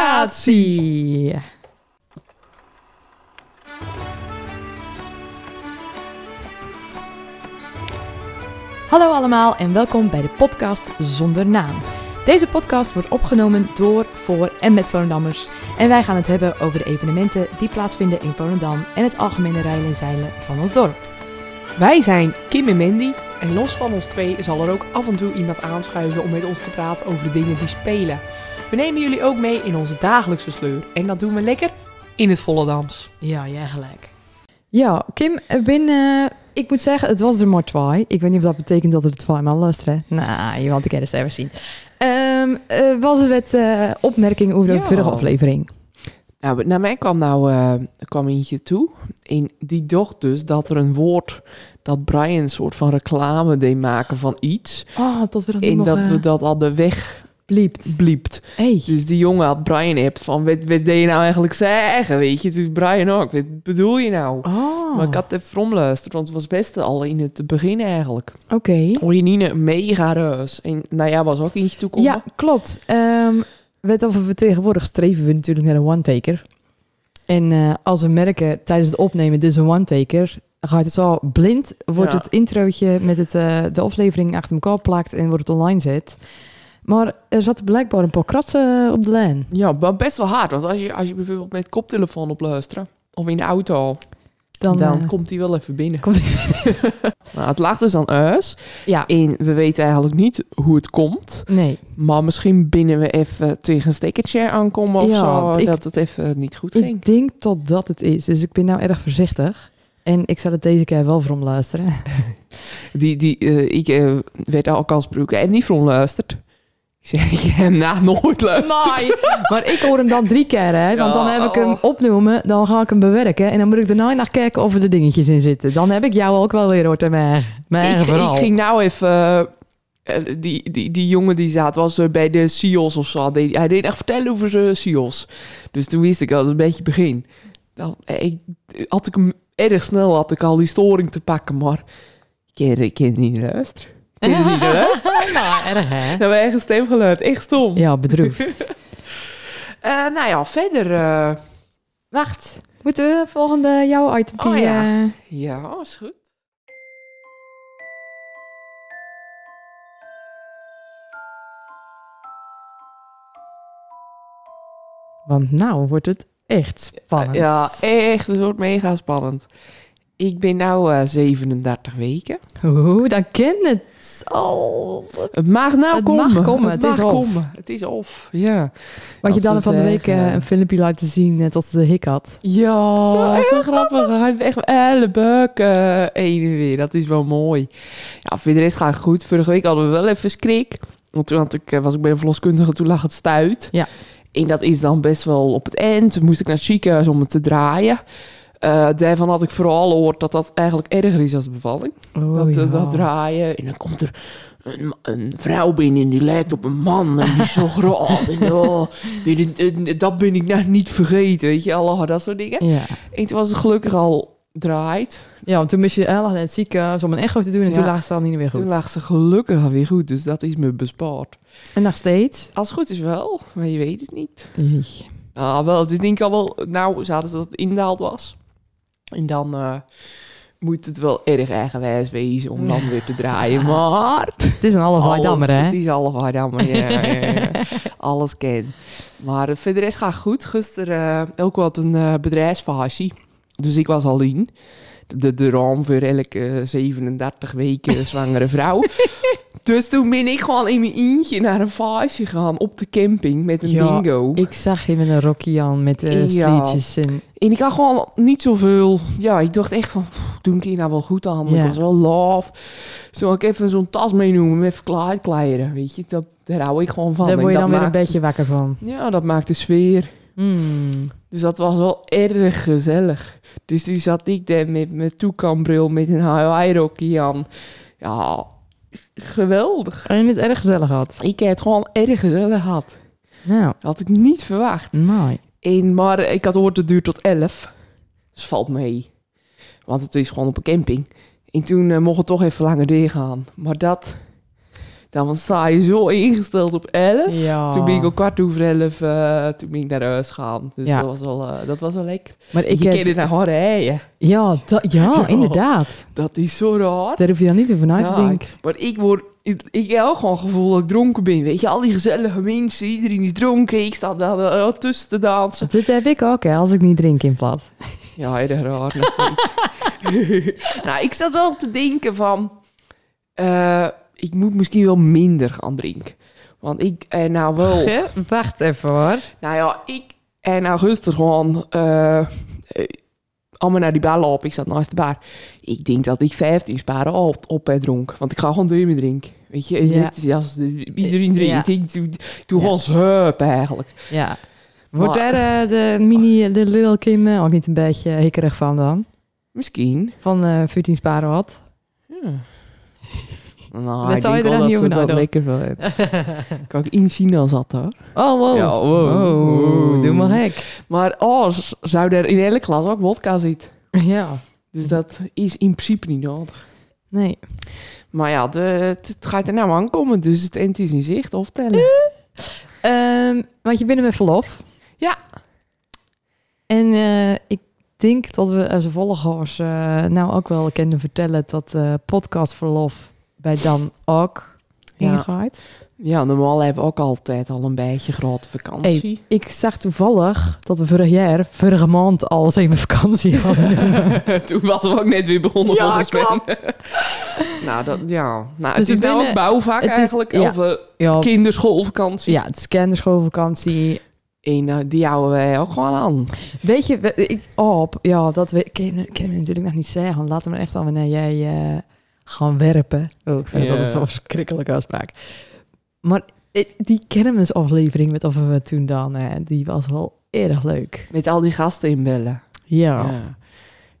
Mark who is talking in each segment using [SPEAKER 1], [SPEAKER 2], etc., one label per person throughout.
[SPEAKER 1] Rectificatie. Hallo allemaal en welkom bij de podcast Zonder Naam. Deze podcast wordt opgenomen door, voor en met Volendammers. En wij gaan het hebben over de evenementen die plaatsvinden in Volendam en het algemene rijden en zeilen van ons dorp.
[SPEAKER 2] Wij zijn Kim en Mandy en los van ons twee zal er ook af en toe iemand aanschuiven om met ons te praten over de dingen die spelen. We nemen jullie ook mee in onze dagelijkse sleur en dat doen we lekker in het Volendams.
[SPEAKER 1] Ja, jij gelijk. Ja, Kim, ik ben, eh, ik moet zeggen, het was er maar twee. Ik weet niet of dat betekent dat er tweemaal luisteren. Nou, je wilt de kennis even zien. Ehm eh, was er wat eh, opmerking over de
[SPEAKER 2] Ja.
[SPEAKER 1] vorige aflevering?
[SPEAKER 3] Nou, naar mij kwam nou eh, kwam eentje toe. En die dacht dus dat er een woord dat Brian een soort van reclame deed maken van iets.
[SPEAKER 1] Oh, dat we dat
[SPEAKER 3] En
[SPEAKER 1] nog
[SPEAKER 3] dat
[SPEAKER 1] eh,
[SPEAKER 3] we dat al de weg
[SPEAKER 1] bliept.
[SPEAKER 3] bliept.
[SPEAKER 1] Hey.
[SPEAKER 3] Dus die jongen had Brian app van, wat, wat deed je nou eigenlijk zeggen, weet je? Dus Brian ook, wat bedoel je nou?
[SPEAKER 1] Oh,
[SPEAKER 3] Maar ik had het even omluisterd, want het was best al in het begin eigenlijk.
[SPEAKER 1] oké.
[SPEAKER 3] Ojenine, mega reus. En nou ja, was ook eentje toekomen.
[SPEAKER 1] Ja, klopt. Ehm weet of we tegenwoordig streven we natuurlijk naar een one-taker. En eh, als we merken tijdens het opnemen, dus een one-taker, gaat het zo blind, wordt
[SPEAKER 3] Ja.
[SPEAKER 1] het introotje met het, eh, de aflevering achter elkaar plakt en wordt het online zet. Maar er zaten blijkbaar een paar kratsen op de lijn.
[SPEAKER 3] Ja, maar best wel hard. Want als je, als je bijvoorbeeld met koptelefoon op luisteren, of in de auto,
[SPEAKER 1] Dan,
[SPEAKER 3] dan,
[SPEAKER 1] eh,
[SPEAKER 3] komt hij wel even binnen.
[SPEAKER 1] komt
[SPEAKER 3] Nou, het lag dus aan us.
[SPEAKER 1] Ja,
[SPEAKER 3] En we weten eigenlijk niet hoe het komt.
[SPEAKER 1] nee.
[SPEAKER 3] Maar misschien binnen we even tegen een stekkertje aankomen of
[SPEAKER 1] Ja,
[SPEAKER 3] zo.
[SPEAKER 1] ik-
[SPEAKER 3] dat het even niet goed ging.
[SPEAKER 1] Ik denk dat dat het is. Dus ik ben nou erg voorzichtig. En ik zal het deze keer wel voor luisteren.
[SPEAKER 3] Die, die, eh, ik eh, werd al kansbroek. Hij heeft niet van luisterd. Ik zei, ik heb hem na nooit luisterd.
[SPEAKER 1] Nee, maar ik hoor hem dan drie keer, hè. Want dan
[SPEAKER 3] Ja,
[SPEAKER 1] heb ik hem
[SPEAKER 3] oh.
[SPEAKER 1] opnoemen, dan ga ik hem bewerken. En dan moet ik daarna nog kijken of er de dingetjes in zitten. Dan heb ik jou ook wel weer hoort en mij.
[SPEAKER 3] Ik,
[SPEAKER 1] Maar
[SPEAKER 3] ik
[SPEAKER 1] vooral.
[SPEAKER 3] ging nou even... eh, eh, die, die, die jongen die zat, was eh, bij de SIOS of zo. Deed- hij deed echt vertellen over zijn SIOS. Dus toen wist ik al een beetje begin. Dan, eh, ik, had ik hem erg snel had ik al die storing te pakken, maar... Ik ken, ik ken niet luisteren. Ik ken niet luisteren.
[SPEAKER 1] nou, erg hè?
[SPEAKER 3] Nou, mijn eigen stemgeluid. Echt stom.
[SPEAKER 1] Ja, bedroefd.
[SPEAKER 3] Eh, nou ja, verder... eh,
[SPEAKER 1] Wacht, moeten we volgende jouw item
[SPEAKER 3] Oh, ja. ja, is goed.
[SPEAKER 1] Want nou wordt het echt spannend.
[SPEAKER 3] Ja, eh. echt. Het wordt mega spannend. Ik ben nou eh 37 weken.
[SPEAKER 1] Oeh, dan ken het. Oh, wat-
[SPEAKER 3] Het mag nou
[SPEAKER 1] Het
[SPEAKER 3] komen.
[SPEAKER 1] mag komen, het
[SPEAKER 3] mag
[SPEAKER 1] is off.
[SPEAKER 3] komen. Het is off, ja.
[SPEAKER 1] wat je
[SPEAKER 3] Dat
[SPEAKER 1] dan
[SPEAKER 3] is
[SPEAKER 1] van de
[SPEAKER 3] echt,
[SPEAKER 1] week eh,
[SPEAKER 3] ja.
[SPEAKER 1] een filmpje laten zien, net als de hik had.
[SPEAKER 3] Ja,
[SPEAKER 1] Zo
[SPEAKER 3] zo,
[SPEAKER 1] erg
[SPEAKER 3] grappig. Hij heeft echt alle bukken eh, heen en weer. Dat is wel mooi. Ja, voor de rest gaat het goed. Vorige week hadden we wel even schrik. Want toen had ik, eh, was ik bij een verloskundige, toen lag het stuit.
[SPEAKER 1] Ja.
[SPEAKER 3] En dat is dan best wel op het eind. Toen moest ik naar het ziekenhuis om het te draaien. Eh, daarvan had ik vooral gehoord dat dat eigenlijk erger is als de bevalling.
[SPEAKER 1] Oh,
[SPEAKER 3] dat, eh,
[SPEAKER 1] ja.
[SPEAKER 3] dat draaien. En dan komt er een, een vrouw binnen die lijkt op een man. En die is zo groot. En, oh, weet je, eh, dat ben ik nou niet vergeten. Weet je, Allah, dat soort dingen.
[SPEAKER 1] Ja.
[SPEAKER 3] En toen was het gelukkig al draait.
[SPEAKER 1] ja, want toen moest je eigenlijk naar het ziekenhuis om een echo te doen. En
[SPEAKER 3] Ja.
[SPEAKER 1] toen lag ze al niet meer goed.
[SPEAKER 3] Toen lag ze gelukkig alweer goed. Dus dat is me bespaard.
[SPEAKER 1] En nog steeds.
[SPEAKER 3] Als het goed is wel, maar je weet het niet.
[SPEAKER 1] Eeg.
[SPEAKER 3] Ah, wel, het is denk ik al wel... Nou, ze hadden ze dat het indaald was. En dan eh, moet het wel erg eigenwijs wezen om dan weer te draaien. Maar
[SPEAKER 1] Het is een half Haidammer,
[SPEAKER 3] Alles, Het
[SPEAKER 1] hè?
[SPEAKER 3] is half Haidammer, ja. ja, ja. Alles ken. Maar eh, voor de rest gaat goed. Gisteren eh, ook wat een eh bedrijfsvakantie. Dus ik was al in. De, de raam voor elke 37 weken zwangere vrouw. dus toen ben ik gewoon in mijn eentje naar een vakantie gegaan op de camping met een
[SPEAKER 1] Ja,
[SPEAKER 3] bingo.
[SPEAKER 1] Ik zag je met een rokje aan met eh
[SPEAKER 3] Ja.
[SPEAKER 1] slietjes. En...
[SPEAKER 3] En ik had gewoon niet zoveel. Ja, ik dacht echt van, pff, doe ik hier nou wel goed aan? Want
[SPEAKER 1] Ja.
[SPEAKER 3] Ik was wel love. Zo had ik even zo'n tas meenoemen met verklaardkleren, weet je. Dat, daar hou ik gewoon van.
[SPEAKER 1] Daar
[SPEAKER 3] En
[SPEAKER 1] word je
[SPEAKER 3] dat
[SPEAKER 1] dan weer een
[SPEAKER 3] maakt-
[SPEAKER 1] beetje wakker van.
[SPEAKER 3] Ja, dat maakt de sfeer.
[SPEAKER 1] Hmm.
[SPEAKER 3] Dus dat was wel erg gezellig. Dus toen zat ik daar met mijn toekanbril, met een Hawaii-rokje aan. Ja, geweldig.
[SPEAKER 1] En het erg gezellig had.
[SPEAKER 3] Ik heb het gewoon erg gezellig gehad.
[SPEAKER 1] Nou,
[SPEAKER 3] Had ik niet verwacht.
[SPEAKER 1] mooi.
[SPEAKER 3] En, maar ik had gehoord, het duurt tot 11. Dus valt mee. Want het is gewoon op een camping. En toen eh, mocht het toch even langer doorgaan. Maar dat, Dan sta je zo ingesteld op 11.
[SPEAKER 1] Ja.
[SPEAKER 3] Toen ben ik om kwart over elf, eh, toen ben ik naar huis gegaan. Dus
[SPEAKER 1] Ja.
[SPEAKER 3] dat, was wel, eh, dat was wel lekker.
[SPEAKER 1] maar ik eh,
[SPEAKER 3] je
[SPEAKER 1] heb-
[SPEAKER 3] kent het naar haar rijden.
[SPEAKER 1] ja, da- ja,
[SPEAKER 3] Ja.
[SPEAKER 1] inderdaad.
[SPEAKER 3] Dat is zo raar.
[SPEAKER 1] Daar hoef je dan niet over na te
[SPEAKER 3] Ja,
[SPEAKER 1] denken.
[SPEAKER 3] Maar ik word... Ik, ik heb ook gewoon het gevoel dat ik dronken ben. Weet je, al die gezellige mensen, iedereen is dronken. Ik sta daar eh, tussen te dansen.
[SPEAKER 1] Dit heb ik ook, hè, als ik niet drink in plat.
[SPEAKER 3] Oh. Ja, erg raar nog steeds. nou, ik zat wel te denken van... eh, ik moet misschien wel minder gaan drinken. Want ik, eh, nou wel...
[SPEAKER 1] Ge- Wacht even hoor.
[SPEAKER 3] Nou ja, ik en Augustus gewoon eh, eh, allemaal naar die bar lopen. Ik zat naast de bar. Ik denk dat ik 15 sparen op, op heb dronken. Want ik ga gewoon door me drinken. Weet je, en
[SPEAKER 1] Ja.
[SPEAKER 3] dit is als de- iedereen drinkt. Ik doe, ik doe
[SPEAKER 1] Ja.
[SPEAKER 3] gewoon zuip eigenlijk.
[SPEAKER 1] Ja. Wordt
[SPEAKER 3] Maar-
[SPEAKER 1] daar eh, de mini, de Little Kim eh, ook niet een beetje hikkerig van dan?
[SPEAKER 3] Misschien.
[SPEAKER 1] Van eh 14 sparen wat?
[SPEAKER 3] Ja. Nou,
[SPEAKER 1] Daar
[SPEAKER 3] ik
[SPEAKER 1] zou je
[SPEAKER 3] denk
[SPEAKER 1] er
[SPEAKER 3] wel
[SPEAKER 1] dan niet
[SPEAKER 3] dat ze
[SPEAKER 1] over
[SPEAKER 3] dat
[SPEAKER 1] nadenken.
[SPEAKER 3] lekker wel hebben. Kan ik in China zat hoor.
[SPEAKER 1] Oh, wow.
[SPEAKER 3] Ja, wow.
[SPEAKER 1] Oh, doe maar gek.
[SPEAKER 3] Maar oh, z- zou er in elk glas ook wodka zitten.
[SPEAKER 1] Ja.
[SPEAKER 3] Dus dat is in principe niet nodig.
[SPEAKER 1] Nee.
[SPEAKER 3] Maar ja, de, het, het gaat er nou aankomen, dus het eind is in zicht. Of tellen.
[SPEAKER 1] Ehm, want je bent met verlof.
[SPEAKER 3] Ja.
[SPEAKER 1] En eh, ik denk dat we als volgers eh, nou ook wel kunnen vertellen dat eh, podcastverlof bij Dan ook
[SPEAKER 3] Ja.
[SPEAKER 1] ingaat.
[SPEAKER 3] Ja, normaal hebben we ook altijd al een beetje grote vakantie.
[SPEAKER 1] Ik zag toevallig dat we vorig jaar, vorige maand, al zeven vakantie hadden.
[SPEAKER 3] Toen was we ook net weer begonnen
[SPEAKER 1] Ja, Dus
[SPEAKER 3] volgens mij. nou, dat, ja. nou, het
[SPEAKER 1] we
[SPEAKER 3] is nou
[SPEAKER 1] binnen-
[SPEAKER 3] ook bouwvak
[SPEAKER 1] het is-
[SPEAKER 3] eigenlijk.
[SPEAKER 1] ja.
[SPEAKER 3] Of eh,
[SPEAKER 1] ja,
[SPEAKER 3] kinderschoolvakantie.
[SPEAKER 1] ja, het is kinderschoolvakantie.
[SPEAKER 3] En eh, die houden wij ook gewoon aan.
[SPEAKER 1] Weet je, we- ik, oh, op, ja, dat we, ik kan ik kan het natuurlijk nog niet zeggen. Laat hem echt al wanneer jij eh, gaan werpen. Oh, ik vind dat
[SPEAKER 3] Ja.
[SPEAKER 1] is zo'n verschrikkelijke uitspraak. Maar het- die kermisaflevering met of we toen dan, eh, die was wel erg leuk.
[SPEAKER 3] Met al die gasten inbellen.
[SPEAKER 1] Ja.
[SPEAKER 3] Ja.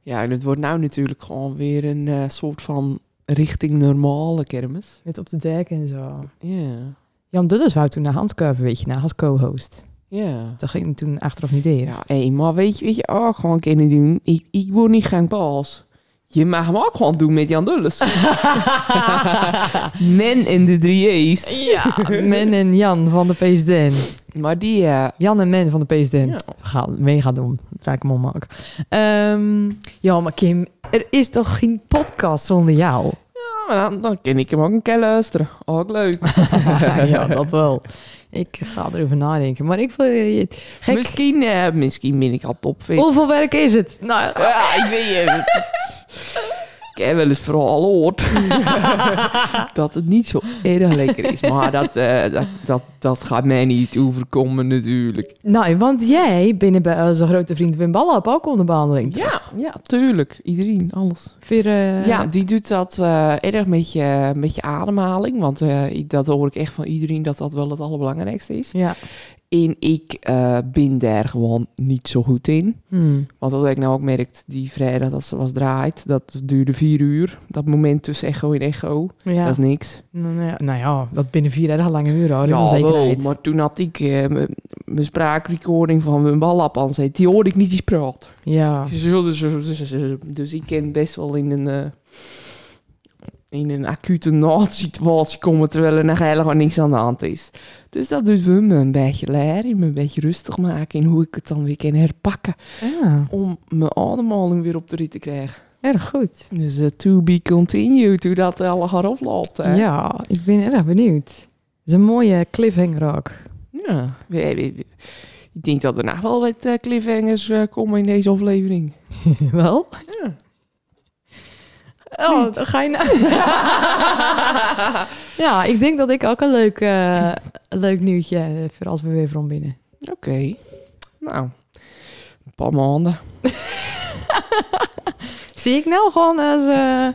[SPEAKER 3] ja, en het wordt nou natuurlijk gewoon weer een eh, soort van richting normale kermis.
[SPEAKER 1] Met op de dek en zo.
[SPEAKER 3] Ja,
[SPEAKER 1] Jan Dulles wou toen naar Hans Kuiver, weet je, nou, als co-host.
[SPEAKER 3] ja.
[SPEAKER 1] Dat ging toen achteraf niet deren.
[SPEAKER 3] Ja, hé, maar weet je, weet je ook gewoon kunnen doen? Ik, ik word niet gaan baas. Je mag hem ook gewoon doen met Jan Dulles. Men en de drie E's.
[SPEAKER 1] Ja, Men en Jan van de PSDN.
[SPEAKER 3] Maar die, eh,
[SPEAKER 1] Jan en Men van de PSDN.
[SPEAKER 3] ja.
[SPEAKER 1] We gaan mee gaan doen. Draai ik hem om ook. Ehm, ja, maar Kim, er is toch geen podcast zonder jou?
[SPEAKER 3] Ja, oh, maar dan, dan kan ik hem ook een keer luisteren. Ook leuk.
[SPEAKER 1] ja, dat wel. Ik ga erover nadenken. Maar ik wil je... Gek,
[SPEAKER 3] Misschien, eh, misschien ben ik al topfit.
[SPEAKER 1] hoeveel werk is het? Nou,
[SPEAKER 3] Ja, ik weet het. Ik heb wel eens vooral gehoord dat het niet zo erg lekker is. Maar dat, eh, dat, dat, dat gaat mij niet overkomen natuurlijk.
[SPEAKER 1] nou, want jij binnen bij onze grote vriend Wim Ballap ook onder behandeling.
[SPEAKER 3] Ja, ja, tuurlijk. Iedereen, alles.
[SPEAKER 1] Voor, eh,
[SPEAKER 3] Ja, die doet dat eh, erg met je, met je ademhaling. Want eh, ik, dat hoor ik echt van iedereen dat dat wel het allerbelangrijkste is.
[SPEAKER 1] Ja.
[SPEAKER 3] En ik eh ben daar gewoon niet zo goed in.
[SPEAKER 1] Hmm.
[SPEAKER 3] Want dat heb ik nou ook merkt, die vrijdag dat ze was draait, dat duurde vier uur. Dat moment tussen echo en echo,
[SPEAKER 1] Ja.
[SPEAKER 3] dat is niks.
[SPEAKER 1] Nou ja, nou ja, dat binnen vier dagen lange uren hoor.
[SPEAKER 3] ja,
[SPEAKER 1] Ja,
[SPEAKER 3] wel,
[SPEAKER 1] zekerheid.
[SPEAKER 3] maar toen had ik eh, mijn- mijn spraakrecording van mijn ballap aan zet. Die hoorde ik niet eens praten.
[SPEAKER 1] Ja.
[SPEAKER 3] Zo, dus- dus- dus- dus- Dus ik ken best wel in een, eh, in een acute noodsituatie komen, terwijl er nog helemaal niks aan de hand is. Dus dat doet we me een beetje leren, me een beetje rustig maken en hoe ik het dan weer kan herpakken
[SPEAKER 1] ja,
[SPEAKER 3] om mijn ademhaling weer op de rit te krijgen.
[SPEAKER 1] erg goed.
[SPEAKER 3] Dus eh, to be continued, hoe dat allemaal afloopt. Hè?
[SPEAKER 1] Ja, ik ben erg benieuwd. Het is een mooie cliffhanger ook.
[SPEAKER 3] Ja. We- we- we- Ik denk dat er nog wel wat eh, cliffhangers eh, komen in deze aflevering.
[SPEAKER 1] Wel?
[SPEAKER 3] Ja.
[SPEAKER 1] Oh, dan ga je nou. ja, ik denk dat ik ook een leuk, eh, een leuk nieuwtje heb voor als we weer van binnen.
[SPEAKER 3] Oké. Nou, een paar maanden.
[SPEAKER 1] Zie ik nou gewoon als... eh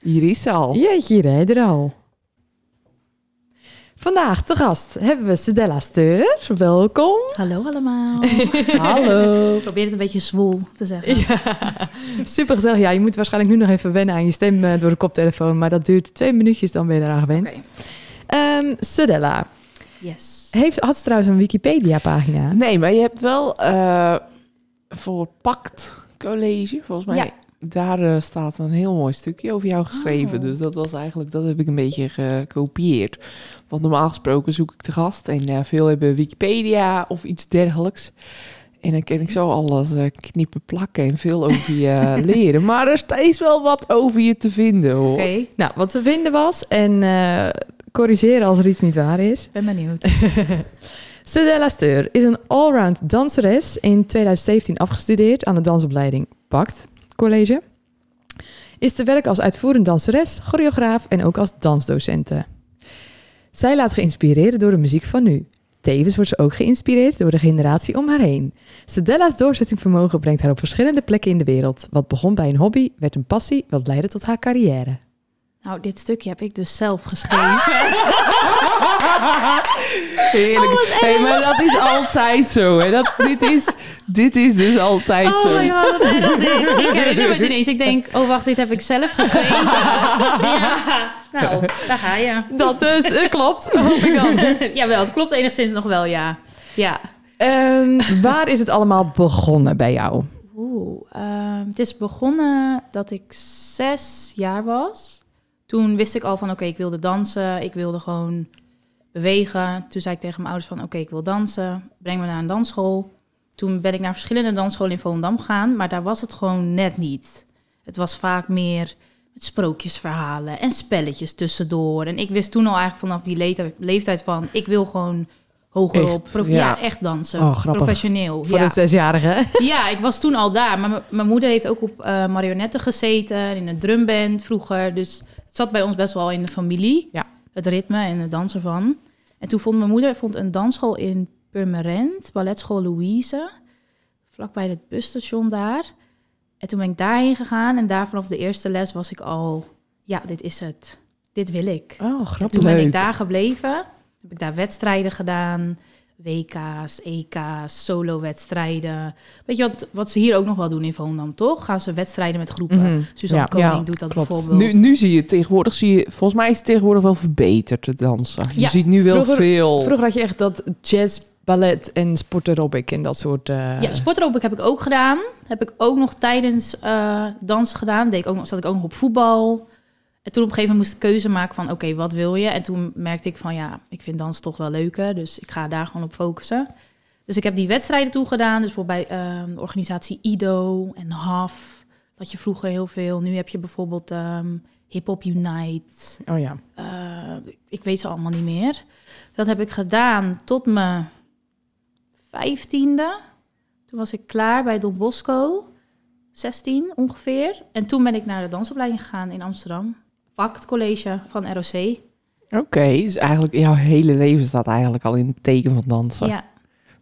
[SPEAKER 3] Hier is ze al.
[SPEAKER 1] Jeetje, rij er al. Vandaag te gast hebben we Sedella Steur. Welkom.
[SPEAKER 4] Hallo allemaal.
[SPEAKER 3] Hallo.
[SPEAKER 4] Ik probeer het een beetje zwoel te zeggen.
[SPEAKER 1] Super gezellig. Ja, je moet waarschijnlijk nu nog even wennen aan je stem eh, door de koptelefoon. Maar dat duurt twee minuutjes, dan ben je eraan gewend.
[SPEAKER 4] Oké.
[SPEAKER 1] Ehm Sedella.
[SPEAKER 4] Yes.
[SPEAKER 1] Heeft, had ze trouwens een Wikipedia-pagina?
[SPEAKER 3] Nee, maar je hebt wel eh, voor Pact College, volgens mij.
[SPEAKER 4] Ja.
[SPEAKER 3] daar eh, staat een heel mooi stukje over jou geschreven.
[SPEAKER 4] Oh.
[SPEAKER 3] Dus dat was eigenlijk, dat heb ik een beetje gekopieerd. Want normaal gesproken zoek ik de gast en eh, veel hebben Wikipedia of iets dergelijks. En dan kan ik zo alles eh, knippen, plakken en veel over je eh, leren. Maar er is steeds wel wat over je te vinden hoor.
[SPEAKER 4] Oké,
[SPEAKER 1] Nou, wat te vinden was, en eh, corrigeren als er iets niet waar is.
[SPEAKER 4] ben benieuwd.
[SPEAKER 1] Stella Steur is een allround danseres. In 2017 afgestudeerd aan de dansopleiding PACT College. Is te werk als uitvoerend danseres, choreograaf en ook als dansdocente. Zij laat geïnspireerd door de muziek van nu. Tevens wordt ze ook geïnspireerd door de generatie om haar heen. Stella's doorzettingsvermogen brengt haar op verschillende plekken in de wereld. Wat begon bij een hobby, werd een passie, wat leidde tot haar carrière.
[SPEAKER 4] Nou, dit stukje heb ik dus zelf geschreven.
[SPEAKER 3] Heerlijk.
[SPEAKER 4] Oh, wat
[SPEAKER 3] hey,
[SPEAKER 4] erg.
[SPEAKER 3] maar dat is altijd zo. Hè. Dat, dit, is, dit is dus altijd
[SPEAKER 4] oh
[SPEAKER 3] zo.
[SPEAKER 4] my god, wat erg dit. Ik herinner me het ineens. Ik denk, oh wacht, dit heb ik zelf geschreven. ja, nou, daar ga je.
[SPEAKER 1] Dat dus, eh, klopt, hoop ik dan.
[SPEAKER 4] Jawel, het klopt enigszins nog wel, ja. Ja.
[SPEAKER 1] Ehm, waar is het allemaal begonnen bij jou?
[SPEAKER 4] Oeh, ehm, het is begonnen dat ik zes jaar was. Toen wist ik al van, oké, ik wilde dansen. Ik wilde gewoon bewegen. Toen zei ik tegen mijn ouders van, oké, ik wil dansen. Breng me naar een dansschool. Toen ben ik naar verschillende dansscholen in Volendam gegaan. Maar daar was het gewoon net niet. Het was vaak meer met sprookjesverhalen en spelletjes tussendoor. En ik wist toen al eigenlijk vanaf die leeftijd, leeftijd van... ik wil gewoon hogerop,
[SPEAKER 3] Echt,
[SPEAKER 4] prof-
[SPEAKER 3] ja.
[SPEAKER 4] ja. echt dansen.
[SPEAKER 1] Oh, grappig.
[SPEAKER 4] Professioneel.
[SPEAKER 1] Voor
[SPEAKER 4] ja.
[SPEAKER 1] een zesjarige.
[SPEAKER 4] Ja, ik was toen al daar. Maar m- mijn moeder heeft ook op eh marionetten gezeten, en in een drumband vroeger. Dus het zat bij ons best wel in de familie.
[SPEAKER 1] Ja.
[SPEAKER 4] Het ritme en het dansen van. En toen vond mijn moeder vond een dansschool in Purmerend, balletschool Louise, vlakbij het busstation daar. En toen ben ik daarheen gegaan en daar vanaf de eerste les was ik al, ja, dit is het. Dit wil ik.
[SPEAKER 1] Oh, grappig.
[SPEAKER 4] Toen ben
[SPEAKER 3] Leuk.
[SPEAKER 4] ik daar gebleven. Heb ik daar wedstrijden gedaan. E WK's, EK's, solo-wedstrijden. Weet je wat, wat ze hier ook nog wel doen in Volendam, toch? Gaan ze wedstrijden met groepen.
[SPEAKER 1] Mhm.
[SPEAKER 4] Suzanne
[SPEAKER 1] Ja,
[SPEAKER 4] Koning
[SPEAKER 1] ja,
[SPEAKER 4] doet dat
[SPEAKER 1] klopt.
[SPEAKER 4] bijvoorbeeld.
[SPEAKER 3] Nu, nu zie je het tegenwoordig, zie je, volgens mij is het tegenwoordig wel verbeterd, het dansen. Je
[SPEAKER 4] Ja,
[SPEAKER 3] ziet nu wel
[SPEAKER 1] vroeger-
[SPEAKER 3] veel.
[SPEAKER 1] Vroeger had je echt dat jazz, ballet en sportaerobic en dat soort... eh,
[SPEAKER 4] Ja, sportrobic heb ik ook gedaan. Heb ik ook nog tijdens eh dansen gedaan. Deed ik ook nog, zat ik ook nog op voetbal. En toen op een gegeven moment moest ik keuze maken van... oké, wat wil je? En toen merkte ik van ja, ik vind dansen toch wel leuker. Dus ik ga daar gewoon op focussen. Dus ik heb die wedstrijden toe gedaan. Dus bijvoorbeeld bij ehm, de organisatie IDO en HAF. Dat je vroeger heel veel. Nu heb je bijvoorbeeld ehm Hip Hop Unite.
[SPEAKER 1] Oh ja.
[SPEAKER 4] Eh, ik weet ze allemaal niet meer. Dat heb ik gedaan tot mijn vijftiende. Toen was ik klaar bij Don Bosco, 16 ongeveer. En toen ben ik naar de dansopleiding gegaan in Amsterdam. Pakt college van ROC.
[SPEAKER 3] Oké, dus eigenlijk jouw hele leven staat eigenlijk al in het teken van dansen.
[SPEAKER 4] Ja,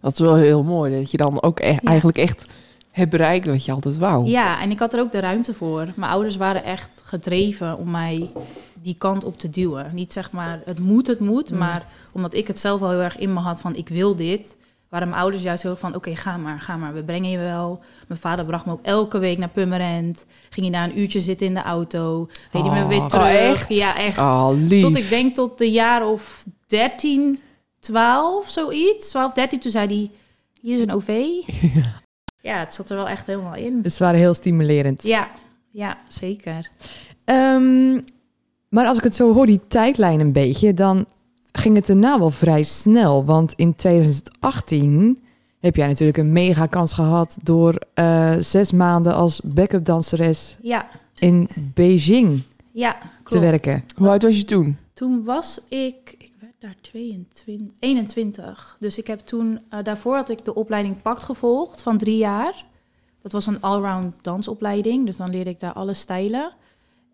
[SPEAKER 3] Dat is wel heel mooi, dat je dan ook e- eigenlijk echt hebt bereikt wat je altijd wou.
[SPEAKER 4] ja, en ik had er ook de ruimte voor. Mijn ouders waren echt gedreven om mij die kant op te duwen. Niet zeg maar het moet, het moet,
[SPEAKER 1] Mm.
[SPEAKER 4] maar omdat ik het zelf wel heel erg in me had van ik wil dit, waren mijn ouders juist heel erg van oké, ga maar, ga maar, we brengen je wel. Mijn vader bracht me ook elke week naar Pummerend. Ging hij na een uurtje zitten in de auto, reed hij me
[SPEAKER 1] Oh.
[SPEAKER 4] weer
[SPEAKER 1] Oh,
[SPEAKER 4] terug.
[SPEAKER 3] echt?
[SPEAKER 4] Ja, echt.
[SPEAKER 3] Ah, lief.
[SPEAKER 4] Tot ik denk tot de jaar of 13, 12, zoiets. 12, 13, toen zei hij, hier is een OV. ja, het zat er wel echt helemaal in.
[SPEAKER 1] Dus ze waren heel stimulerend.
[SPEAKER 4] Ja, ja, zeker.
[SPEAKER 1] Ehm, maar als ik het zo hoor, die tijdlijn een beetje, dan ging het daarna wel vrij snel. Want in 2018 heb jij natuurlijk een mega kans gehad door eh, zes maanden als backup danseres
[SPEAKER 4] Ja,
[SPEAKER 1] in Beijing
[SPEAKER 4] ja, klopt.
[SPEAKER 1] te werken.
[SPEAKER 3] Hoe oud was je toen?
[SPEAKER 4] Toen was ik, ik werd daar 22, 21. Dus ik heb toen, eh, daarvoor had ik de opleiding PACT gevolgd van drie jaar. Dat was een allround dansopleiding, dus dan leerde ik daar alle stijlen.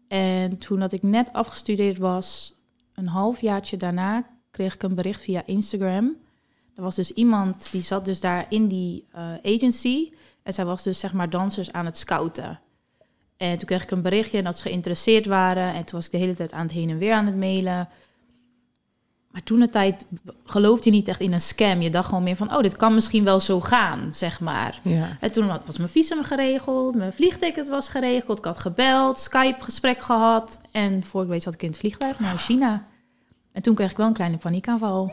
[SPEAKER 4] En toen dat ik net afgestudeerd was, een halfjaartje daarna, kreeg ik een bericht via Instagram. Er was dus iemand die zat dus daar in die eh, agency. En zij was dus zeg maar dansers aan het scouten. En toen kreeg ik een berichtje en dat ze geïnteresseerd waren. En toen was ik de hele tijd aan het heen en weer aan het mailen. Maar toen de tijd geloofde je niet echt in een scam. Je dacht gewoon meer van, oh, dit kan misschien wel zo gaan, zeg maar.
[SPEAKER 1] Ja.
[SPEAKER 4] En toen had- was mijn visum geregeld, mijn vliegticket was geregeld, ik had gebeld, Skype-gesprek gehad. En voor ik weet zat ik in het vliegtuig naar China. En En toen kreeg ik wel een kleine paniekaanval.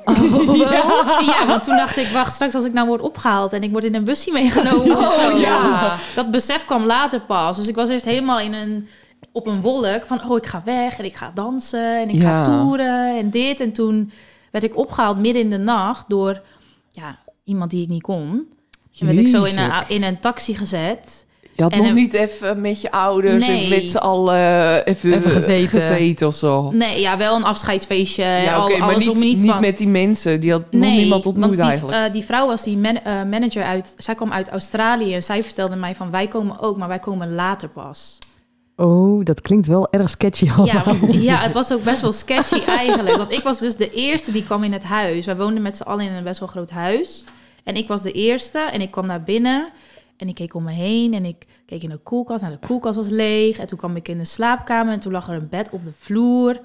[SPEAKER 4] ja. want toen dacht ik, wacht, straks als ik nou word opgehaald en ik word in een busje meegenomen.
[SPEAKER 1] Oh,
[SPEAKER 4] of Oh, zo. Dat besef kwam later pas. Dus ik was eerst helemaal in een, op een wolk van, oh, ik ga weg en ik ga dansen en ik
[SPEAKER 3] Ja.
[SPEAKER 4] ga toeren en dit. En toen werd ik opgehaald midden in de nacht door ja, iemand die ik niet kon. En werd ik zo in een,
[SPEAKER 3] Jezus.
[SPEAKER 4] in een taxi gezet.
[SPEAKER 3] Je had
[SPEAKER 4] En
[SPEAKER 3] nog
[SPEAKER 4] een-
[SPEAKER 3] niet even met je ouders en
[SPEAKER 4] Nee.
[SPEAKER 3] met z'n allen eh, even,
[SPEAKER 1] Even gezeten.
[SPEAKER 3] gezeten of zo.
[SPEAKER 4] Nee, ja, wel een afscheidsfeestje. Ja,
[SPEAKER 3] oké, maar
[SPEAKER 4] alles
[SPEAKER 3] niet,
[SPEAKER 4] om niet,
[SPEAKER 3] niet
[SPEAKER 4] van.
[SPEAKER 3] met die mensen. Die had nog niemand
[SPEAKER 4] want
[SPEAKER 3] ontmoet
[SPEAKER 4] die,
[SPEAKER 3] eigenlijk.
[SPEAKER 4] eh, die vrouw was die man- eh, manager uit... Zij kwam uit Australië en zij vertelde mij van... wij komen ook, maar wij komen later pas.
[SPEAKER 1] Oh, dat klinkt wel erg sketchy
[SPEAKER 4] Ja, want- ja, het was ook best wel sketchy eigenlijk. Want ik was dus de eerste die kwam in het huis. Wij woonden met z'n allen in een best wel groot huis. En ik was de eerste en ik kwam naar binnen... En ik keek om me heen en ik keek in de koelkast. Nou, de koelkast was leeg. En toen kwam ik in de slaapkamer en toen lag er een bed op de vloer.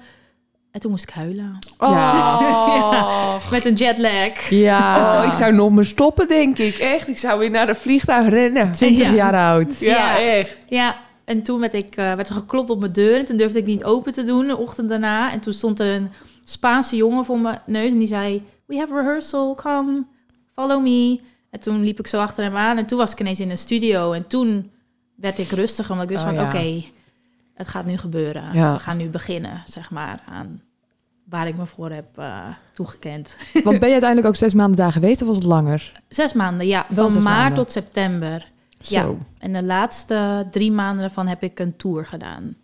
[SPEAKER 4] En toen moest ik huilen.
[SPEAKER 3] Ja.
[SPEAKER 1] ja.
[SPEAKER 4] Met een jetlag.
[SPEAKER 1] ja.
[SPEAKER 4] eh,
[SPEAKER 3] Oh, ik zou nog maar stoppen, denk ik. Echt, ik zou weer naar een vliegtuig rennen.
[SPEAKER 1] 20
[SPEAKER 4] Ja.
[SPEAKER 1] jaar oud.
[SPEAKER 3] Ja,
[SPEAKER 4] Ja.
[SPEAKER 3] echt.
[SPEAKER 4] Ja, en toen werd, ik, eh, werd er geklopt op mijn deur. En toen durfde ik niet open te doen de ochtend daarna. En toen stond er een Spaanse jongen voor mijn neus. En die zei, we have rehearsal, come, follow me. En toen liep ik zo achter hem aan. En toen was ik ineens in een studio. En toen werd ik rustiger. Want ik wist
[SPEAKER 1] Oh,
[SPEAKER 4] van,
[SPEAKER 1] ja.
[SPEAKER 4] oké, het gaat nu gebeuren.
[SPEAKER 3] Ja.
[SPEAKER 4] We gaan nu beginnen, zeg maar, aan waar ik me voor heb eh, toegekend.
[SPEAKER 1] Want ben je uiteindelijk ook zes maanden daar geweest of was het langer?
[SPEAKER 4] Zes maanden, ja.
[SPEAKER 1] Wel
[SPEAKER 4] van
[SPEAKER 1] zes
[SPEAKER 4] maart
[SPEAKER 1] maanden.
[SPEAKER 4] tot september. Ja. En de laatste drie maanden daarvan heb ik een tour gedaan.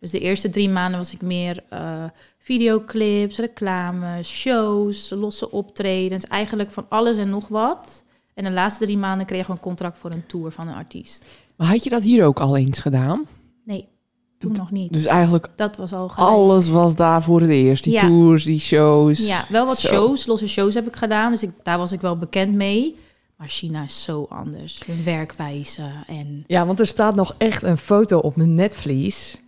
[SPEAKER 4] Dus de eerste drie maanden was ik meer eh, videoclips, reclames, shows, losse optredens. Eigenlijk van alles en nog wat. En de laatste drie maanden kregen we een contract voor een tour van een artiest.
[SPEAKER 3] Maar had je dat hier ook al eens gedaan?
[SPEAKER 4] Nee, toen nog niet.
[SPEAKER 3] Dus eigenlijk
[SPEAKER 4] dat was al gelijk.
[SPEAKER 3] alles was daar voor het eerst. Die
[SPEAKER 4] Ja.
[SPEAKER 3] tours, die shows.
[SPEAKER 4] Ja, wel wat
[SPEAKER 3] Zo.
[SPEAKER 4] shows, losse shows heb ik gedaan. Dus ik, daar was ik wel bekend mee. Maar China is zo anders. Hun werkwijze en...
[SPEAKER 1] Ja, want er staat nog echt een foto op mijn netvlies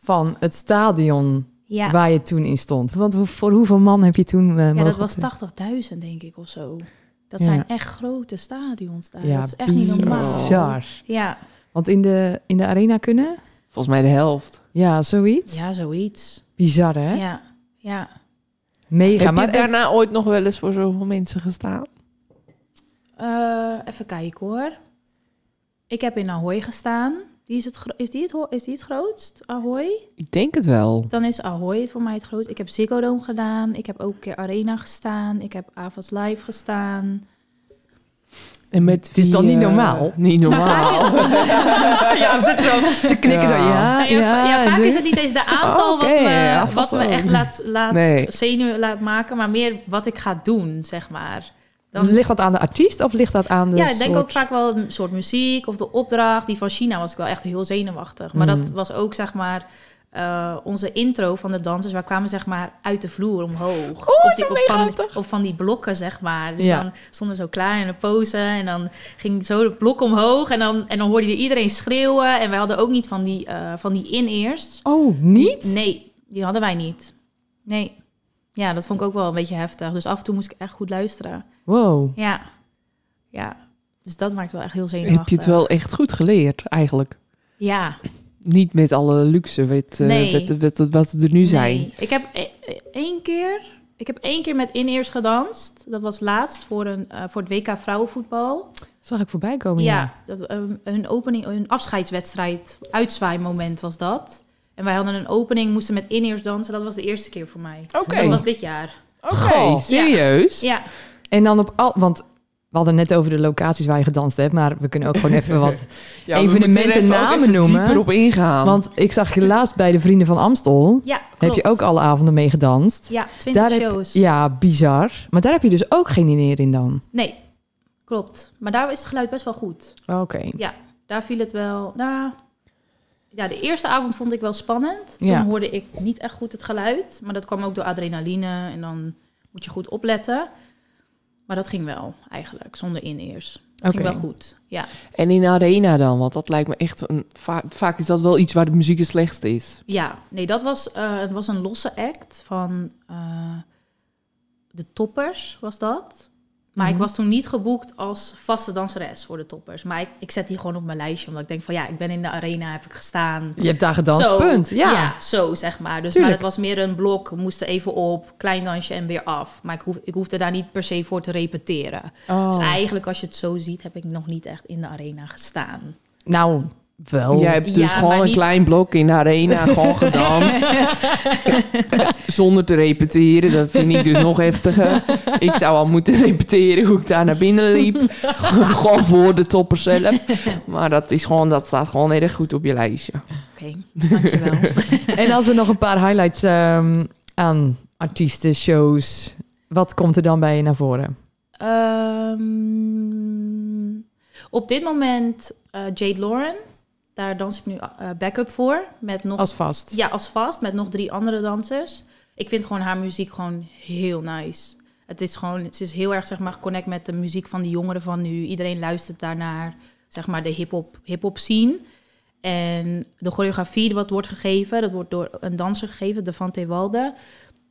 [SPEAKER 1] van het stadion
[SPEAKER 4] Ja,
[SPEAKER 1] waar je toen in stond. Want hoe- voor hoeveel man heb je toen eh,
[SPEAKER 4] Ja,
[SPEAKER 1] mogen
[SPEAKER 4] dat was
[SPEAKER 1] optreden?
[SPEAKER 4] 80.000 denk ik of zo. Dat
[SPEAKER 1] Ja.
[SPEAKER 4] zijn echt grote stadions daar.
[SPEAKER 1] Ja,
[SPEAKER 4] dat is echt niet normaal.
[SPEAKER 1] bizar.
[SPEAKER 4] Ja.
[SPEAKER 1] Want in de, in de arena kunnen?
[SPEAKER 3] Volgens mij de helft.
[SPEAKER 1] Ja, zoiets.
[SPEAKER 4] ja, zoiets.
[SPEAKER 1] Bizar, hè?
[SPEAKER 4] Ja. ja.
[SPEAKER 1] Mega.
[SPEAKER 3] Heb
[SPEAKER 1] maar
[SPEAKER 3] je daarna ooit nog wel eens voor zoveel mensen gestaan?
[SPEAKER 4] Eh, even kijken hoor. Ik heb in Ahoy gestaan. Die is, het gro- is, die het ho- is die het grootst? Ahoy?
[SPEAKER 3] Ik denk het wel.
[SPEAKER 4] Dan is Ahoy voor mij het grootst. Ik heb Ziggo Dome gedaan. Ik heb ook een keer Arena gestaan. Ik heb Avas Live gestaan.
[SPEAKER 3] En met
[SPEAKER 1] Het is
[SPEAKER 3] wie,
[SPEAKER 1] dan niet
[SPEAKER 3] eh,
[SPEAKER 1] normaal?
[SPEAKER 3] niet normaal.
[SPEAKER 1] ja, we zitten zo te knikken. Zo. nou- Ja,
[SPEAKER 4] Nou ja,
[SPEAKER 1] ja,
[SPEAKER 4] va- ja, vaak
[SPEAKER 1] de-
[SPEAKER 4] is het niet eens de aantal
[SPEAKER 3] Ah, Oké,
[SPEAKER 4] wat me,
[SPEAKER 3] ja,
[SPEAKER 4] wat
[SPEAKER 3] vast
[SPEAKER 4] me
[SPEAKER 3] wel.
[SPEAKER 4] echt laat, laat
[SPEAKER 3] Nee.
[SPEAKER 4] zenuw laat maken, maar meer wat ik ga doen, zeg maar. Dan,
[SPEAKER 1] Ligt dat aan de artiest of ligt dat aan de
[SPEAKER 4] ja, ik denk
[SPEAKER 1] soort-
[SPEAKER 4] ook vaak wel een soort muziek of de opdracht. Die van China was ik wel echt heel zenuwachtig. Maar
[SPEAKER 3] Mm.
[SPEAKER 4] dat was ook, zeg maar, eh, onze intro van de dansers. Wij kwamen, zeg maar, uit de vloer
[SPEAKER 3] Oh,
[SPEAKER 4] omhoog. op, die, op, van, op van die blokken, zeg maar. Dus
[SPEAKER 1] Ja.
[SPEAKER 4] dan stonden we zo klaar in de pose. En dan ging zo de blok omhoog. En dan, en dan hoorde je iedereen schreeuwen. En wij hadden ook niet van die, eh, van die in-ears.
[SPEAKER 1] Oh, niet?
[SPEAKER 4] Nee, die hadden wij niet. Nee. Ja, dat vond ik ook wel een beetje heftig. Dus af en toe moest ik echt goed luisteren.
[SPEAKER 1] Wow.
[SPEAKER 4] Ja. Ja. Dus dat maakt wel echt heel zenuwachtig.
[SPEAKER 3] Heb je het wel echt goed geleerd eigenlijk?
[SPEAKER 4] Ja.
[SPEAKER 3] Niet met alle luxe wat, eh,
[SPEAKER 4] Nee.
[SPEAKER 3] wat, wat, wat, wat er nu zijn.
[SPEAKER 4] Nee. Ik heb e- e- één keer... Ik heb één keer met in-ears gedanst. Dat was laatst voor, een, eh, voor het WK vrouwenvoetbal.
[SPEAKER 1] Zag ik voorbij komen, Oh, ja.
[SPEAKER 4] Ja, dat, eh, een opening, een afscheidswedstrijd, uitzwaai-moment was dat. En wij hadden een opening, moesten met in-ears dansen. Dat was de eerste keer voor mij.
[SPEAKER 3] Oké.
[SPEAKER 4] Dat was dit jaar.
[SPEAKER 3] Oké,
[SPEAKER 1] Goh.
[SPEAKER 3] serieus?
[SPEAKER 4] Ja,
[SPEAKER 1] En dan op al... Want we hadden net over de locaties waar je gedanst hebt. Maar we kunnen ook gewoon even wat...
[SPEAKER 3] we moeten er
[SPEAKER 1] Evenementen
[SPEAKER 3] even ook
[SPEAKER 1] namen
[SPEAKER 3] even
[SPEAKER 1] noemen.
[SPEAKER 3] dieper op ingaan.
[SPEAKER 1] Want ik zag je laatst bij de Vrienden van Amstel.
[SPEAKER 4] ja
[SPEAKER 1] Heb je
[SPEAKER 4] klopt.
[SPEAKER 1] ook alle avonden meegedanst.
[SPEAKER 4] Ja, 20
[SPEAKER 1] heb-
[SPEAKER 4] shows.
[SPEAKER 1] ja, bizar. Maar daar heb je dus ook geen dineer in dan.
[SPEAKER 4] Nee, klopt. Maar daar is het geluid best wel goed.
[SPEAKER 1] Oké.
[SPEAKER 4] Daar viel het wel. Nou, ja, de eerste avond vond ik wel spannend. Toen
[SPEAKER 1] Ja.
[SPEAKER 4] hoorde ik niet echt goed het geluid. Maar dat kwam ook door adrenaline. En dan moet je goed opletten. Maar dat ging wel, eigenlijk, zonder in-ears. Dat
[SPEAKER 1] Oké.
[SPEAKER 4] ging wel goed. Ja,
[SPEAKER 3] En in arena dan, want dat lijkt me echt een... va- vaak is dat wel iets waar de muziek het slechtst is.
[SPEAKER 4] ja. nee, dat was, eh, het was een losse act van eh, de toppers, was dat. Maar
[SPEAKER 1] Mhm.
[SPEAKER 4] ik was toen niet geboekt als vaste danseres voor de toppers. Maar ik, ik zet die gewoon op mijn lijstje. Omdat ik denk van ja, ik ben in de arena, heb ik gestaan.
[SPEAKER 1] Je hebt daar gedanst,
[SPEAKER 4] Zo,
[SPEAKER 1] punt. Ja.
[SPEAKER 4] zo zeg maar. Dus
[SPEAKER 1] Tuurlijk.
[SPEAKER 4] maar het was meer een blok. We moesten even op, klein dansje en weer af. Maar ik, hoef, ik hoefde daar niet per se voor te repeteren. Dus
[SPEAKER 1] Oh.
[SPEAKER 4] eigenlijk, als je het zo ziet, heb ik nog niet echt in de arena gestaan.
[SPEAKER 1] Nou, wel.
[SPEAKER 3] Jij hebt dus
[SPEAKER 4] Ja,
[SPEAKER 3] gewoon
[SPEAKER 4] maar
[SPEAKER 3] een
[SPEAKER 4] niet-
[SPEAKER 3] klein blok in de arena gewoon gedanst. Zonder te repeteren. Dat vind ik dus nog heftiger. Ik zou al moeten repeteren hoe ik daar naar binnen liep. gewoon voor de topper zelf. Maar dat, is gewoon, dat staat gewoon erg goed op je lijstje.
[SPEAKER 4] Oké, dankjewel.
[SPEAKER 1] En als er nog een paar highlights ehm, aan artiesten, shows, wat komt er dan bij je naar voren?
[SPEAKER 4] Ehm, op dit moment eh, Jade Lauren. Daar dans ik nu eh, backup voor. Met nog,
[SPEAKER 1] Als vast.
[SPEAKER 4] Ja, als vast. Met nog drie andere dansers. Ik vind gewoon haar muziek gewoon heel nice. Het is gewoon, ze is heel erg zeg maar connect met de muziek van de jongeren van nu. Iedereen luistert daarnaar. Zeg maar de hip-hop hip scene. En de choreografie die wat wordt gegeven, dat wordt door een danser gegeven, Devante Walde.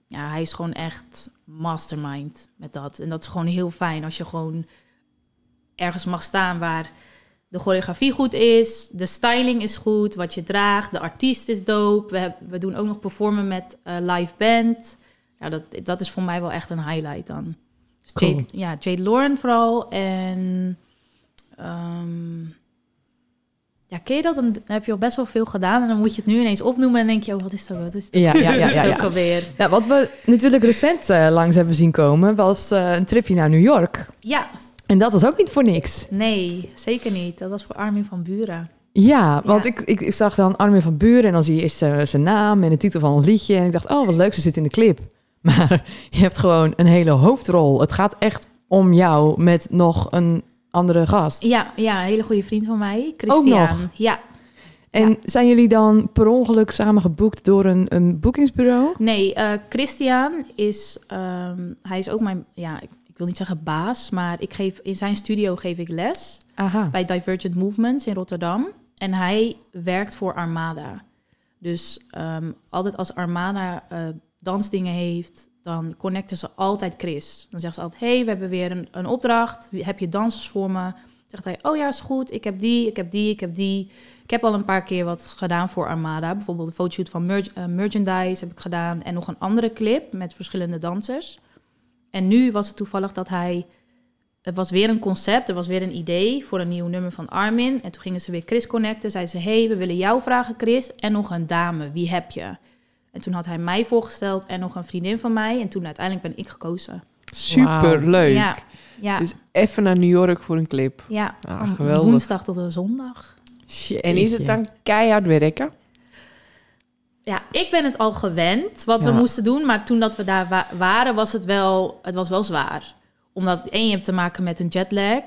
[SPEAKER 4] Ja, hij is gewoon echt mastermind met dat. En dat is gewoon heel fijn als je gewoon ergens mag staan waar de choreografie goed is, de styling is goed, wat je draagt, de artiest is dope. We, heb- we doen ook nog performen met eh, live band. Ja, dat, dat is voor mij wel echt een highlight dan. Dus
[SPEAKER 1] Cool.
[SPEAKER 4] Jade, ja, Jade Lauren vooral en... ehm, ja, ken je dat? Dan heb je al best wel veel gedaan en dan moet je het nu ineens opnoemen en denk je, oh, wat is dat? Wat is dat?
[SPEAKER 1] Ja, ja, ja,
[SPEAKER 4] Wat is
[SPEAKER 1] ja,
[SPEAKER 4] dat
[SPEAKER 1] ja.
[SPEAKER 4] ook alweer?
[SPEAKER 1] Nou, wat we natuurlijk recent eh, langs hebben zien komen, was eh, een tripje naar New York.
[SPEAKER 4] Ja,
[SPEAKER 1] En dat was ook niet voor niks.
[SPEAKER 4] nee, zeker niet. Dat was voor Armin van Buren.
[SPEAKER 1] Ja, want
[SPEAKER 4] Ja.
[SPEAKER 1] Ik, ik zag dan Armin van Buren en dan zie je eerst eh, zijn naam en de titel van een liedje. En ik dacht, oh wat leuk, ze zit in de clip. Maar je hebt gewoon een hele hoofdrol. Het gaat echt om jou met nog een andere gast.
[SPEAKER 4] Ja, ja, een hele goede vriend van mij, Christian.
[SPEAKER 1] nog?
[SPEAKER 4] Ja,
[SPEAKER 1] En zijn jullie dan per ongeluk samen geboekt door een, een boekingsbureau?
[SPEAKER 4] nee, eh, Christian is, ehm, hij is ook mijn, ja, ik, ik wil niet zeggen baas, maar ik geef, in zijn studio geef ik les
[SPEAKER 1] Aha.
[SPEAKER 4] bij Divergent Movements in Rotterdam. En hij werkt voor Armada. Dus ehm, altijd als Armada eh, dansdingen heeft, dan connecten ze altijd Chris. Dan zeggen ze altijd, hey, we hebben weer een, een opdracht. Heb je dansers voor me? Zegt hij, oh ja, is goed. Ik heb die, ik heb die, ik heb die. Ik heb al een paar keer wat gedaan voor Armada. Bijvoorbeeld een fotoshoot van mer- eh, merchandise heb ik gedaan. En nog een andere clip met verschillende dansers. En nu was het toevallig dat hij... Het was weer een concept, er was weer een idee voor een nieuw nummer van Armin. En toen gingen ze weer Chris connecten. Zeiden ze, hey, we willen jou vragen, Chris. En nog een dame, wie heb je? En toen had hij mij voorgesteld en nog een vriendin van mij. En toen uiteindelijk ben ik gekozen.
[SPEAKER 3] Superleuk.
[SPEAKER 4] Ja, ja,
[SPEAKER 3] Dus even naar New York voor een clip.
[SPEAKER 4] ja.
[SPEAKER 3] Ah,
[SPEAKER 4] van
[SPEAKER 3] geweldig.
[SPEAKER 4] woensdag tot een zondag.
[SPEAKER 3] En is het dan keihard werken?
[SPEAKER 4] Ja, ik ben het al gewend wat
[SPEAKER 1] Ja.
[SPEAKER 4] we moesten doen. Maar toen dat we daar wa- waren, was het wel, het was wel zwaar. Omdat één, je hebt te maken met een jetlag.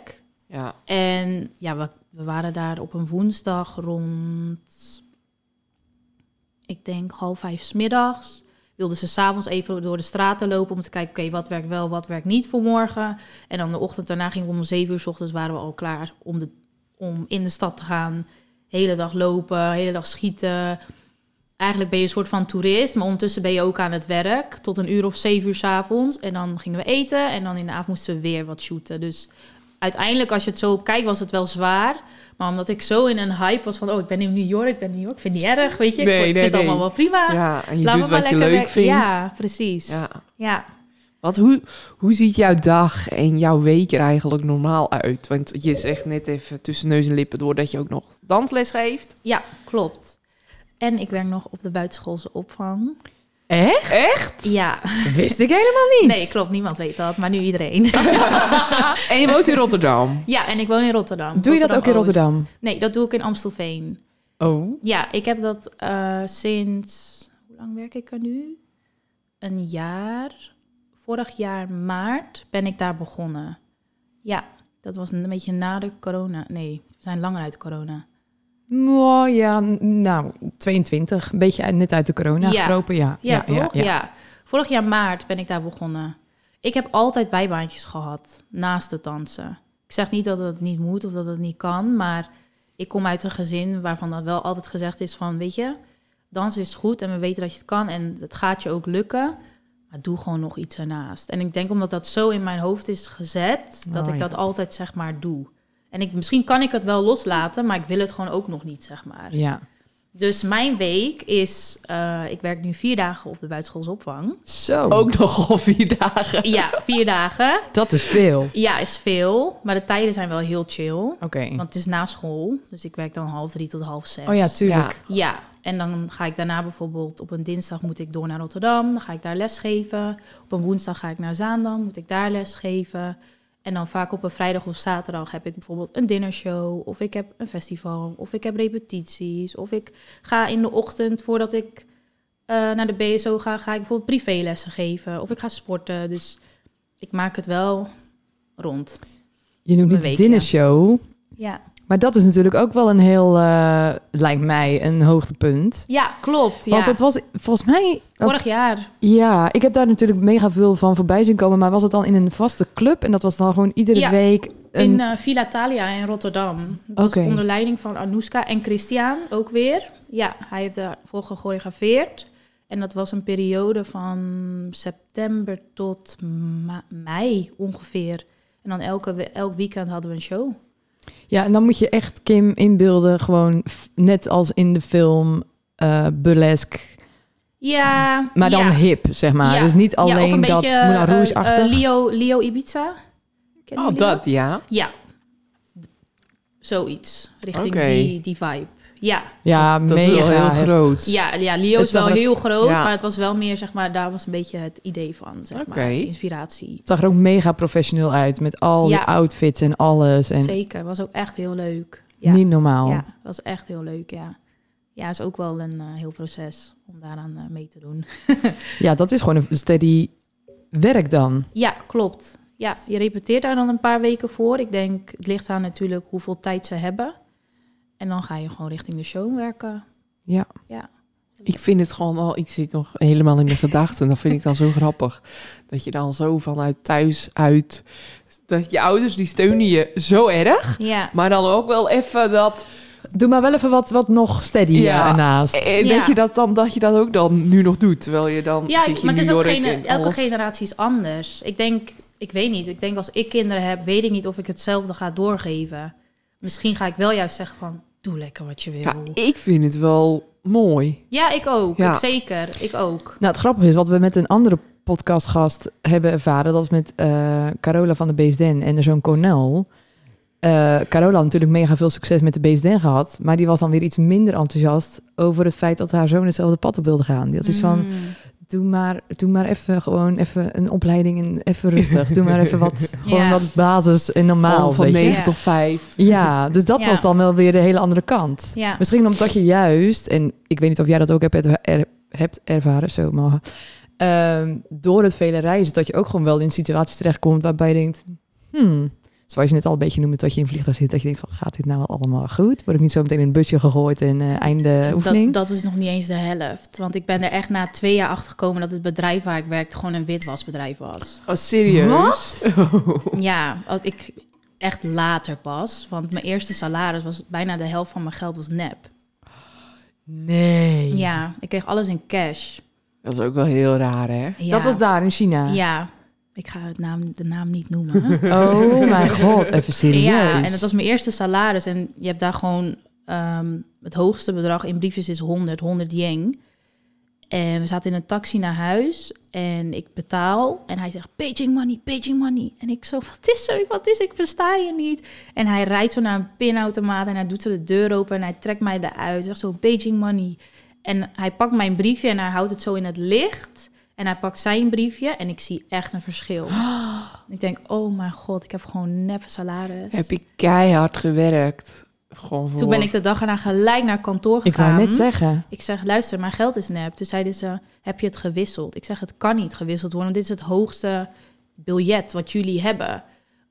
[SPEAKER 3] Ja.
[SPEAKER 4] En ja, we, we waren daar op een woensdag rond, ik denk half vijf 's middags. Wilden ze s'avonds even door de straten lopen om te kijken, oké, wat werkt wel, wat werkt niet voor morgen. En dan de ochtend daarna gingen we om zeven uur 's ochtends, waren we al klaar om, de, om in de stad te gaan. Hele dag lopen, hele dag schieten. Eigenlijk ben je een soort van toerist, maar ondertussen ben je ook aan het werk. Tot een uur of zeven uur s'avonds. En dan gingen we eten en dan in de avond moesten we weer wat shooten. Dus uiteindelijk, als je het zo op kijkt, was het wel zwaar. Maar omdat ik zo in een hype was van... oh, ik ben in New York, ik ben in New York. Ik vind het niet erg, weet je. Ik
[SPEAKER 3] Nee,
[SPEAKER 4] vond- ik
[SPEAKER 3] nee,
[SPEAKER 4] vind
[SPEAKER 3] nee.
[SPEAKER 4] het allemaal wel prima.
[SPEAKER 3] Ja, en je
[SPEAKER 4] Laat me
[SPEAKER 3] doet
[SPEAKER 4] maar
[SPEAKER 3] wat je
[SPEAKER 4] lekker
[SPEAKER 3] leuk
[SPEAKER 4] werken.
[SPEAKER 3] vindt.
[SPEAKER 4] Ja, precies. Ja.
[SPEAKER 3] Ja. Want hoe, hoe ziet jouw dag en jouw week er eigenlijk normaal uit? Want je zegt net even tussen neus en lippen door dat je ook nog dansles geeft.
[SPEAKER 4] Ja, klopt. En ik werk nog op de buitenschoolse opvang.
[SPEAKER 1] Echt?
[SPEAKER 4] Ja,
[SPEAKER 1] Wist ik helemaal niet.
[SPEAKER 4] nee, klopt. Niemand weet dat, maar nu iedereen.
[SPEAKER 3] En je woont in Rotterdam.
[SPEAKER 4] ja, en ik woon in Rotterdam.
[SPEAKER 1] Doe je dat ook in
[SPEAKER 4] Oost.
[SPEAKER 1] Rotterdam?
[SPEAKER 4] Nee, dat doe ik in Amstelveen.
[SPEAKER 1] Oh.
[SPEAKER 4] Ja, ik heb dat eh, sinds... Hoe lang werk ik er nu? Een jaar. Vorig jaar maart ben ik daar begonnen. Ja, dat was een beetje na de corona. Nee, we zijn langer uit corona.
[SPEAKER 1] Nou ja, n- nou, 22. Een beetje uit- net uit de corona
[SPEAKER 4] Ja.
[SPEAKER 1] gekropen, ja.
[SPEAKER 4] Ja, toch? Ja, Vorig jaar maart ben ik daar begonnen. Ik heb altijd bijbaantjes gehad naast het dansen. Ik zeg niet dat het niet moet of dat het niet kan, maar ik kom uit een gezin waarvan dan wel altijd gezegd is van, weet je, dansen is goed en we weten dat je het kan en het gaat je ook lukken. Maar doe gewoon nog iets ernaast. En ik denk omdat dat zo in mijn hoofd is gezet, dat
[SPEAKER 1] Oh,
[SPEAKER 4] ik dat
[SPEAKER 1] ja.
[SPEAKER 4] altijd zeg maar doe. En ik, misschien kan ik het wel loslaten, maar ik wil het gewoon ook nog niet, zeg maar.
[SPEAKER 1] Ja.
[SPEAKER 4] Dus mijn week is, eh, ik werk nu vier dagen op de buitenschoolsopvang.
[SPEAKER 1] Zo,
[SPEAKER 3] Ook nogal vier dagen.
[SPEAKER 4] Ja, vier dagen.
[SPEAKER 1] dat is veel. Oké.
[SPEAKER 4] Ja, is veel. Maar de tijden zijn wel heel chill. Want het is na school. Dus ik werk dan half drie tot half zes.
[SPEAKER 1] Hm. Oh ja, tuurlijk.
[SPEAKER 4] Ja, en dan ga ik daarna bijvoorbeeld op een dinsdag moet ik door naar Rotterdam. Dan ga ik daar lesgeven. Op een woensdag ga ik naar Zaandam, moet ik daar lesgeven. En dan vaak op een vrijdag of zaterdag heb ik bijvoorbeeld een dinnershow. Of ik heb een festival. Of ik heb repetities. Of ik ga in de ochtend voordat ik eh, naar de BSO ga, ga ik bijvoorbeeld privélessen geven. Of ik ga sporten. Dus ik maak het wel rond.
[SPEAKER 1] Je noemt niet
[SPEAKER 4] Een
[SPEAKER 1] de
[SPEAKER 4] week, ja.
[SPEAKER 1] dinnershow,
[SPEAKER 4] Ja,
[SPEAKER 1] maar dat is natuurlijk ook wel een heel, eh, lijkt mij, een hoogtepunt.
[SPEAKER 4] ja klopt. Ja.
[SPEAKER 1] Want dat was volgens mij...
[SPEAKER 4] Vorig jaar.
[SPEAKER 1] Ja, ik heb daar natuurlijk mega veel van voorbij zien komen. Maar was het dan in een vaste club? En dat was dan gewoon iedere
[SPEAKER 4] Ja,
[SPEAKER 1] week een...
[SPEAKER 4] In eh, Villa Thalia in Rotterdam. Dat
[SPEAKER 1] Oké.
[SPEAKER 4] was onder leiding van Anouska en Christian ook weer. Ja, hij heeft daarvoor gechoreografeerd. En dat was een periode van september tot ma- mei ongeveer. En dan elke we- elk weekend hadden we een show. eh,
[SPEAKER 1] Ja, en dan moet je echt Kim inbeelden. Gewoon f- net als in de film eh burlesque.
[SPEAKER 4] Ja,
[SPEAKER 1] Maar dan
[SPEAKER 4] ja.
[SPEAKER 1] hip, zeg maar.
[SPEAKER 4] Ja.
[SPEAKER 1] Dus niet
[SPEAKER 4] Ja, of
[SPEAKER 1] alleen
[SPEAKER 4] een
[SPEAKER 1] dat
[SPEAKER 4] beetje,
[SPEAKER 1] Moulin
[SPEAKER 4] eh,
[SPEAKER 1] Rouge-achtig.
[SPEAKER 4] eh, Leo, Leo Ibiza. Kennen
[SPEAKER 3] Oh,
[SPEAKER 4] jullie
[SPEAKER 3] dat ja.
[SPEAKER 4] Ja. Zoiets. Richting
[SPEAKER 3] Oké.
[SPEAKER 4] die, die vibe. Ja.
[SPEAKER 1] ja,
[SPEAKER 3] Dat
[SPEAKER 1] mega
[SPEAKER 3] is wel heel
[SPEAKER 1] heftig.
[SPEAKER 3] groot.
[SPEAKER 4] Ja, ja Leo
[SPEAKER 1] Het
[SPEAKER 4] is
[SPEAKER 1] is dan
[SPEAKER 4] wel
[SPEAKER 1] een-
[SPEAKER 4] heel groot,
[SPEAKER 3] ja.
[SPEAKER 4] maar het was wel meer, zeg maar, daar was een beetje het idee van, zeg
[SPEAKER 3] Oké.
[SPEAKER 4] maar, inspiratie.
[SPEAKER 1] Het zag er ook mega professioneel uit. Met al
[SPEAKER 4] Ja.
[SPEAKER 1] die outfits en alles. En
[SPEAKER 4] Zeker, was ook echt heel leuk. Ja,
[SPEAKER 1] niet normaal.
[SPEAKER 4] ja, was echt heel leuk, ja. Ja, is ook wel een eh, heel proces om daaraan eh, mee te doen.
[SPEAKER 1] Ja, dat is gewoon een steady werk dan.
[SPEAKER 4] Ja, klopt. Ja, je repeteert daar dan een paar weken voor. Ik denk, het ligt aan natuurlijk hoeveel tijd ze hebben. En dan ga je gewoon richting de show werken.
[SPEAKER 3] Ik vind het gewoon al, ik zit nog helemaal in mijn gedachten. Dat vind ik dan zo grappig. Dat je dan zo vanuit thuis uit. Dat je ouders die steunen je zo erg.
[SPEAKER 4] Ja,
[SPEAKER 3] Maar dan ook wel even dat.
[SPEAKER 1] Doe maar wel even wat, wat nog steady
[SPEAKER 3] Ja. Eh,
[SPEAKER 1] ja. ernaast.
[SPEAKER 3] En
[SPEAKER 4] Ja.
[SPEAKER 3] dat, je dat, dan, dat je dat ook dan nu nog doet. Terwijl je dan.
[SPEAKER 4] ja
[SPEAKER 3] zit je
[SPEAKER 4] maar
[SPEAKER 3] in
[SPEAKER 4] het is
[SPEAKER 3] New
[SPEAKER 4] ook
[SPEAKER 3] York
[SPEAKER 4] gene-
[SPEAKER 3] en
[SPEAKER 4] elke
[SPEAKER 3] alles.
[SPEAKER 4] generatie is anders. Ik denk, ik weet niet. Ik denk als ik kinderen heb, weet ik niet of ik hetzelfde ga doorgeven. Misschien ga ik wel juist zeggen van, doe lekker wat je wil. Ja,
[SPEAKER 3] Ja,
[SPEAKER 4] ik,
[SPEAKER 3] ik vind het wel mooi.
[SPEAKER 4] ook.
[SPEAKER 3] Ja.
[SPEAKER 4] Ik zeker. Ik ook.
[SPEAKER 1] Nou, het grappige is, wat we met een andere podcastgast hebben ervaren, dat was met eh, Carola van de Beesden en haar zoon Cornel. Eh, Carola had natuurlijk mega veel succes met de Beesden gehad, maar die was dan weer iets minder enthousiast over het feit dat haar zoon hetzelfde pad op wilde gaan. Die had zoiets van,
[SPEAKER 4] Mm.
[SPEAKER 1] doe maar, doe maar even gewoon even een opleiding en even rustig. doe maar even wat, gewoon
[SPEAKER 4] Ja.
[SPEAKER 1] wat basis en normaal.
[SPEAKER 3] Al van
[SPEAKER 1] weet je.
[SPEAKER 3] 9
[SPEAKER 4] Ja.
[SPEAKER 3] tot 5.
[SPEAKER 1] Ja, dus dat
[SPEAKER 4] Ja.
[SPEAKER 1] was dan wel weer de hele andere kant.
[SPEAKER 4] Ja.
[SPEAKER 1] Misschien omdat je juist, en ik weet niet of jij dat ook hebt, erva- er- hebt ervaren, zo maar, ehm, door het vele reizen, dat je ook gewoon wel in situaties terechtkomt waarbij je denkt, hmm, zoals je net al een beetje noemde, dat je in een vliegtuig zit, dat je denkt van, gaat dit nou wel allemaal goed? Word ik niet zo meteen in een busje gegooid en eh, einde oefening?
[SPEAKER 4] Dat, dat is nog niet eens de helft. Want ik ben er echt na twee jaar achter gekomen dat het bedrijf waar ik werkte gewoon een witwasbedrijf was.
[SPEAKER 3] Oh, serieus?
[SPEAKER 1] Wat?
[SPEAKER 4] Ja, als ik echt later pas. Want mijn eerste salaris was bijna de helft van mijn geld was nep.
[SPEAKER 1] nee.
[SPEAKER 4] Ja, ik kreeg alles in cash.
[SPEAKER 3] Dat is ook wel heel raar, hè?
[SPEAKER 4] Ja.
[SPEAKER 1] Dat was daar in China.
[SPEAKER 4] Ja, ik ga het naam, de naam niet noemen.
[SPEAKER 1] Oh mijn god, even serieus.
[SPEAKER 4] ja, en dat was mijn eerste salaris. En je hebt daar gewoon ehm, het hoogste bedrag in briefjes is 100, 100 yen. En we zaten in een taxi naar huis en ik betaal. En hij zegt, Beijing money, Beijing money. En ik zo, wat is er? Wat is er? Ik versta je niet. En hij rijdt zo naar een pinautomaat en hij doet zo de deur open en hij trekt mij eruit. Zegt zo, Beijing money. En hij pakt mijn briefje en hij houdt het zo in het licht. En hij pakt zijn briefje en ik zie echt een verschil. Ik denk, oh mijn god, ik heb gewoon nep salaris.
[SPEAKER 3] Heb ik keihard gewerkt. Gewoon voor...
[SPEAKER 4] Dus- Toen ben ik de dag erna gelijk naar kantoor
[SPEAKER 1] Ik
[SPEAKER 4] gegaan.
[SPEAKER 1] wou net zeggen.
[SPEAKER 4] Ik zeg, luister, mijn geld is nep. Toen zeiden ze, heb je het gewisseld? Ik zeg, het kan niet gewisseld worden, want dit is het hoogste biljet wat jullie hebben.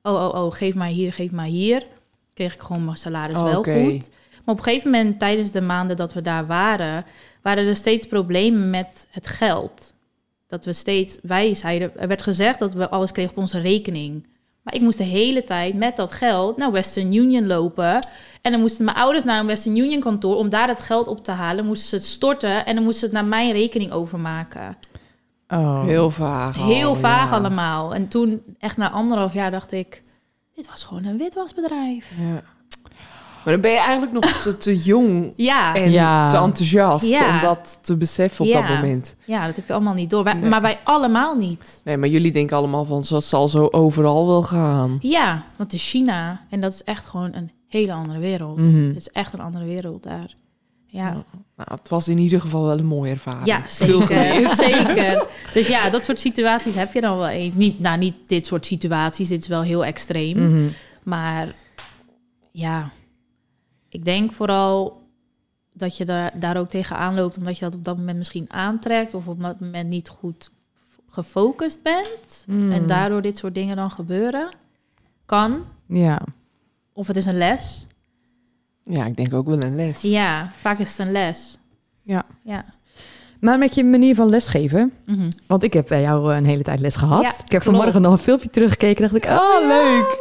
[SPEAKER 4] Oh, oh, oh, geef mij hier, geef mij hier. Kreeg ik gewoon mijn salaris wel
[SPEAKER 3] Oké.
[SPEAKER 4] goed. Maar op een gegeven moment, tijdens de maanden dat we daar waren, waren er steeds problemen met het geld. Dat we steeds, wij zeiden, er werd gezegd dat we alles kregen op onze rekening. Maar ik moest de hele tijd met dat geld naar Western Union lopen. En dan moesten mijn ouders naar een Western Union kantoor om daar het geld op te halen. Moesten ze het storten en dan moesten ze het naar mijn rekening overmaken.
[SPEAKER 1] Oh.
[SPEAKER 3] Heel vaag. al,
[SPEAKER 4] Heel vaag
[SPEAKER 3] ja.
[SPEAKER 4] allemaal. En toen, echt na anderhalf jaar, dacht ik... Dit was gewoon een witwasbedrijf.
[SPEAKER 3] Ja. Maar dan ben je eigenlijk nog te, te jong
[SPEAKER 4] Ja,
[SPEAKER 3] en
[SPEAKER 1] Ja.
[SPEAKER 3] te enthousiast
[SPEAKER 4] Ja.
[SPEAKER 3] om dat te beseffen op
[SPEAKER 4] Ja.
[SPEAKER 3] dat moment.
[SPEAKER 4] ja, dat heb je allemaal niet door. Wij-
[SPEAKER 3] Nee.
[SPEAKER 4] Maar wij allemaal niet.
[SPEAKER 3] Nee, maar jullie denken allemaal van, dat zal zo overal wel gaan.
[SPEAKER 4] Ja, want in China, en dat is echt gewoon een hele andere wereld.
[SPEAKER 1] Mhm.
[SPEAKER 4] Het is echt een andere wereld daar. Ja,
[SPEAKER 3] Ja, Nou, het was in ieder geval wel een mooie ervaring.
[SPEAKER 4] ja
[SPEAKER 3] Veel geleerd.
[SPEAKER 4] zeker. zeker. Dus ja, dat soort situaties heb je dan wel eens. Niet, nou, niet dit soort situaties. Dit is wel heel extreem.
[SPEAKER 1] Mhm.
[SPEAKER 4] Maar ja, ik denk vooral dat je daar, daar ook tegenaan loopt, omdat je dat op dat moment misschien aantrekt of op dat moment niet goed gefocust bent en daardoor dit soort dingen dan gebeuren. Kan.
[SPEAKER 1] Ja.
[SPEAKER 4] Of het is een les.
[SPEAKER 3] Ja, ik denk ook wel een les.
[SPEAKER 4] Ja, vaak is het een les.
[SPEAKER 1] Ja.
[SPEAKER 4] Ja.
[SPEAKER 1] Maar met je manier van lesgeven,
[SPEAKER 4] Mhm.
[SPEAKER 1] want ik heb bij jou eh, een hele tijd les gehad.
[SPEAKER 4] Ja,
[SPEAKER 1] ik heb vanmorgen nog een filmpje teruggekeken dacht ik, oh leuk.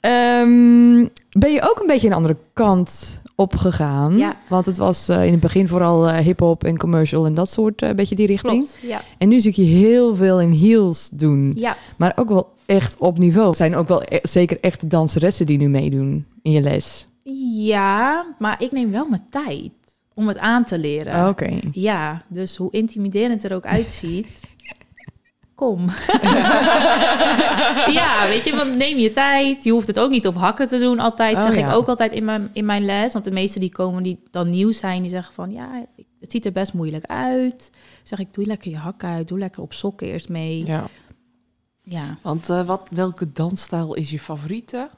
[SPEAKER 1] Ehm, ben je ook een beetje een andere kant opgegaan?
[SPEAKER 4] Ja.
[SPEAKER 1] Want het was eh, in het begin vooral eh, hip-hop en commercial en dat soort, eh, beetje die richting.
[SPEAKER 4] Klopt. Ja.
[SPEAKER 1] En nu zie ik je heel veel in heels doen,
[SPEAKER 4] ja.
[SPEAKER 1] maar ook wel echt op niveau. Het zijn ook wel e- zeker echte danseressen die nu meedoen in je les.
[SPEAKER 4] Ja, maar ik neem wel mijn tijd om het aan te leren.
[SPEAKER 1] Ah, Oké.
[SPEAKER 4] Ja, dus hoe intimiderend het er ook uitziet. Kom. ja, weet je, want neem je tijd. Je hoeft het ook niet op hakken te doen altijd.
[SPEAKER 1] Oh,
[SPEAKER 4] zeg
[SPEAKER 1] ja.
[SPEAKER 4] ik ook altijd in mijn, in mijn les. Want de meesten die komen die dan nieuw zijn, die zeggen van... Ja, ik- het ziet er best moeilijk uit. Zeg ik, doe lekker je hakken uit. Doe lekker op sokken eerst mee. Ja.
[SPEAKER 3] Ja.
[SPEAKER 4] Ja,
[SPEAKER 3] Want eh, wat, welke dansstijl is je favoriete?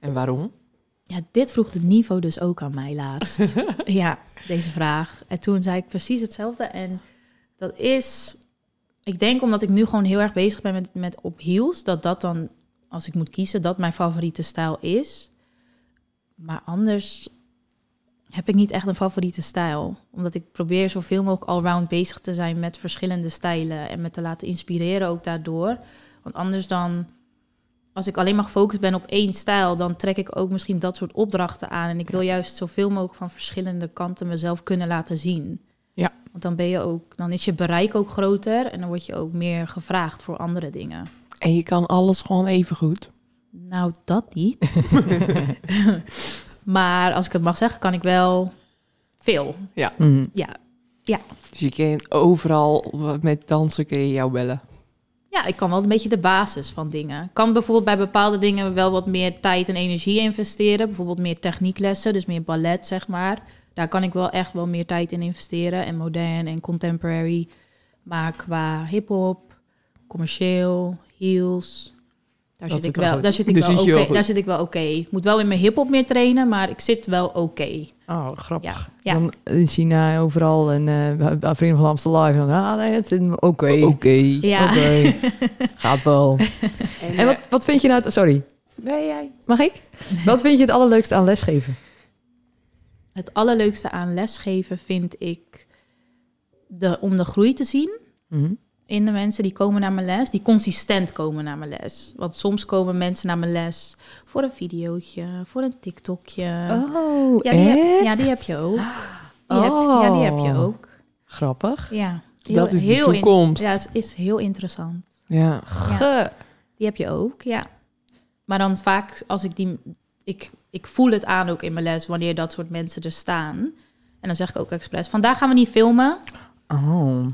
[SPEAKER 3] En waarom?
[SPEAKER 4] dit vroeg het niveau dus ook aan mij laatst. ja, deze vraag. En toen zei ik precies hetzelfde. En dat is Ik denk omdat ik nu gewoon heel erg bezig ben met, met op heels, dat dat dan, als ik moet kiezen, dat mijn favoriete stijl is. Maar anders heb ik niet echt een favoriete stijl. Omdat ik probeer zoveel mogelijk allround bezig te zijn met verschillende stijlen en me te laten inspireren ook daardoor. Want anders dan, als ik alleen maar gefocust ben op één stijl, dan trek ik ook misschien dat soort opdrachten aan. En ik wil juist zoveel mogelijk van verschillende kanten mezelf kunnen laten zien. Want dan ben je ook, dan is je bereik ook groter en dan word je ook meer gevraagd voor andere dingen.
[SPEAKER 3] En je kan alles gewoon even goed.
[SPEAKER 4] Nou, dat niet. maar als ik het mag zeggen, kan ik wel veel.
[SPEAKER 1] Mhm.
[SPEAKER 4] Ja.
[SPEAKER 3] Dus je kan overal w- met dansen kun je jou bellen.
[SPEAKER 4] Ja, ik kan wel een beetje de basis van dingen. Ik kan bijvoorbeeld bij bepaalde dingen wel wat meer tijd en energie investeren. Bijvoorbeeld meer technieklessen, dus meer ballet, zeg maar. Daar kan ik wel echt wel meer tijd in investeren. En modern en contemporary. Maar qua hip-hop, commercieel, heels. Daar
[SPEAKER 3] Dat
[SPEAKER 4] zit,
[SPEAKER 3] zit
[SPEAKER 4] ik
[SPEAKER 3] wel
[SPEAKER 4] wel,
[SPEAKER 3] goed.
[SPEAKER 4] daar, zit ik
[SPEAKER 3] Daar
[SPEAKER 4] wel
[SPEAKER 3] zit je wel
[SPEAKER 4] oké-
[SPEAKER 3] goed.
[SPEAKER 4] daar zit ik wel oké. Ik moet wel in mijn hip-hop meer trainen, maar ik zit wel oké.
[SPEAKER 1] Oh, grappig.
[SPEAKER 4] Ja, ja.
[SPEAKER 1] Dan in China overal en eh, bij vrienden van Amstel Live. Dan, ah, nee, het zit me- oké.
[SPEAKER 3] Oké.
[SPEAKER 4] Ja.
[SPEAKER 1] Oké. Gaat wel. En wat, wat vind je nou... het- Sorry,
[SPEAKER 3] ben jij?
[SPEAKER 1] mag ik? Wat vind je het allerleukste aan lesgeven?
[SPEAKER 4] Het allerleukste aan lesgeven vind ik de, om de groei te zien.
[SPEAKER 1] Mhm.
[SPEAKER 4] in de mensen die komen naar mijn les, die consistent komen naar mijn les. Want soms komen mensen naar mijn les voor een videootje, voor een TikTokje.
[SPEAKER 1] Oh,
[SPEAKER 4] ja, die heb,
[SPEAKER 1] echt?
[SPEAKER 4] ja, die heb je ook. Die heb, ja, die heb je
[SPEAKER 1] Oh.
[SPEAKER 4] ook.
[SPEAKER 1] Grappig.
[SPEAKER 4] Ja,
[SPEAKER 3] Dat is de
[SPEAKER 4] in-
[SPEAKER 3] toekomst.
[SPEAKER 4] ja, het is heel interessant.
[SPEAKER 3] Ja.
[SPEAKER 4] Ja,
[SPEAKER 1] Ge-
[SPEAKER 4] die heb je ook, ja. Maar dan vaak als ik die... Ik, ik voel het aan ook in mijn les wanneer dat soort mensen er staan. En dan zeg ik ook expres, vandaag gaan we niet filmen.
[SPEAKER 1] Oh.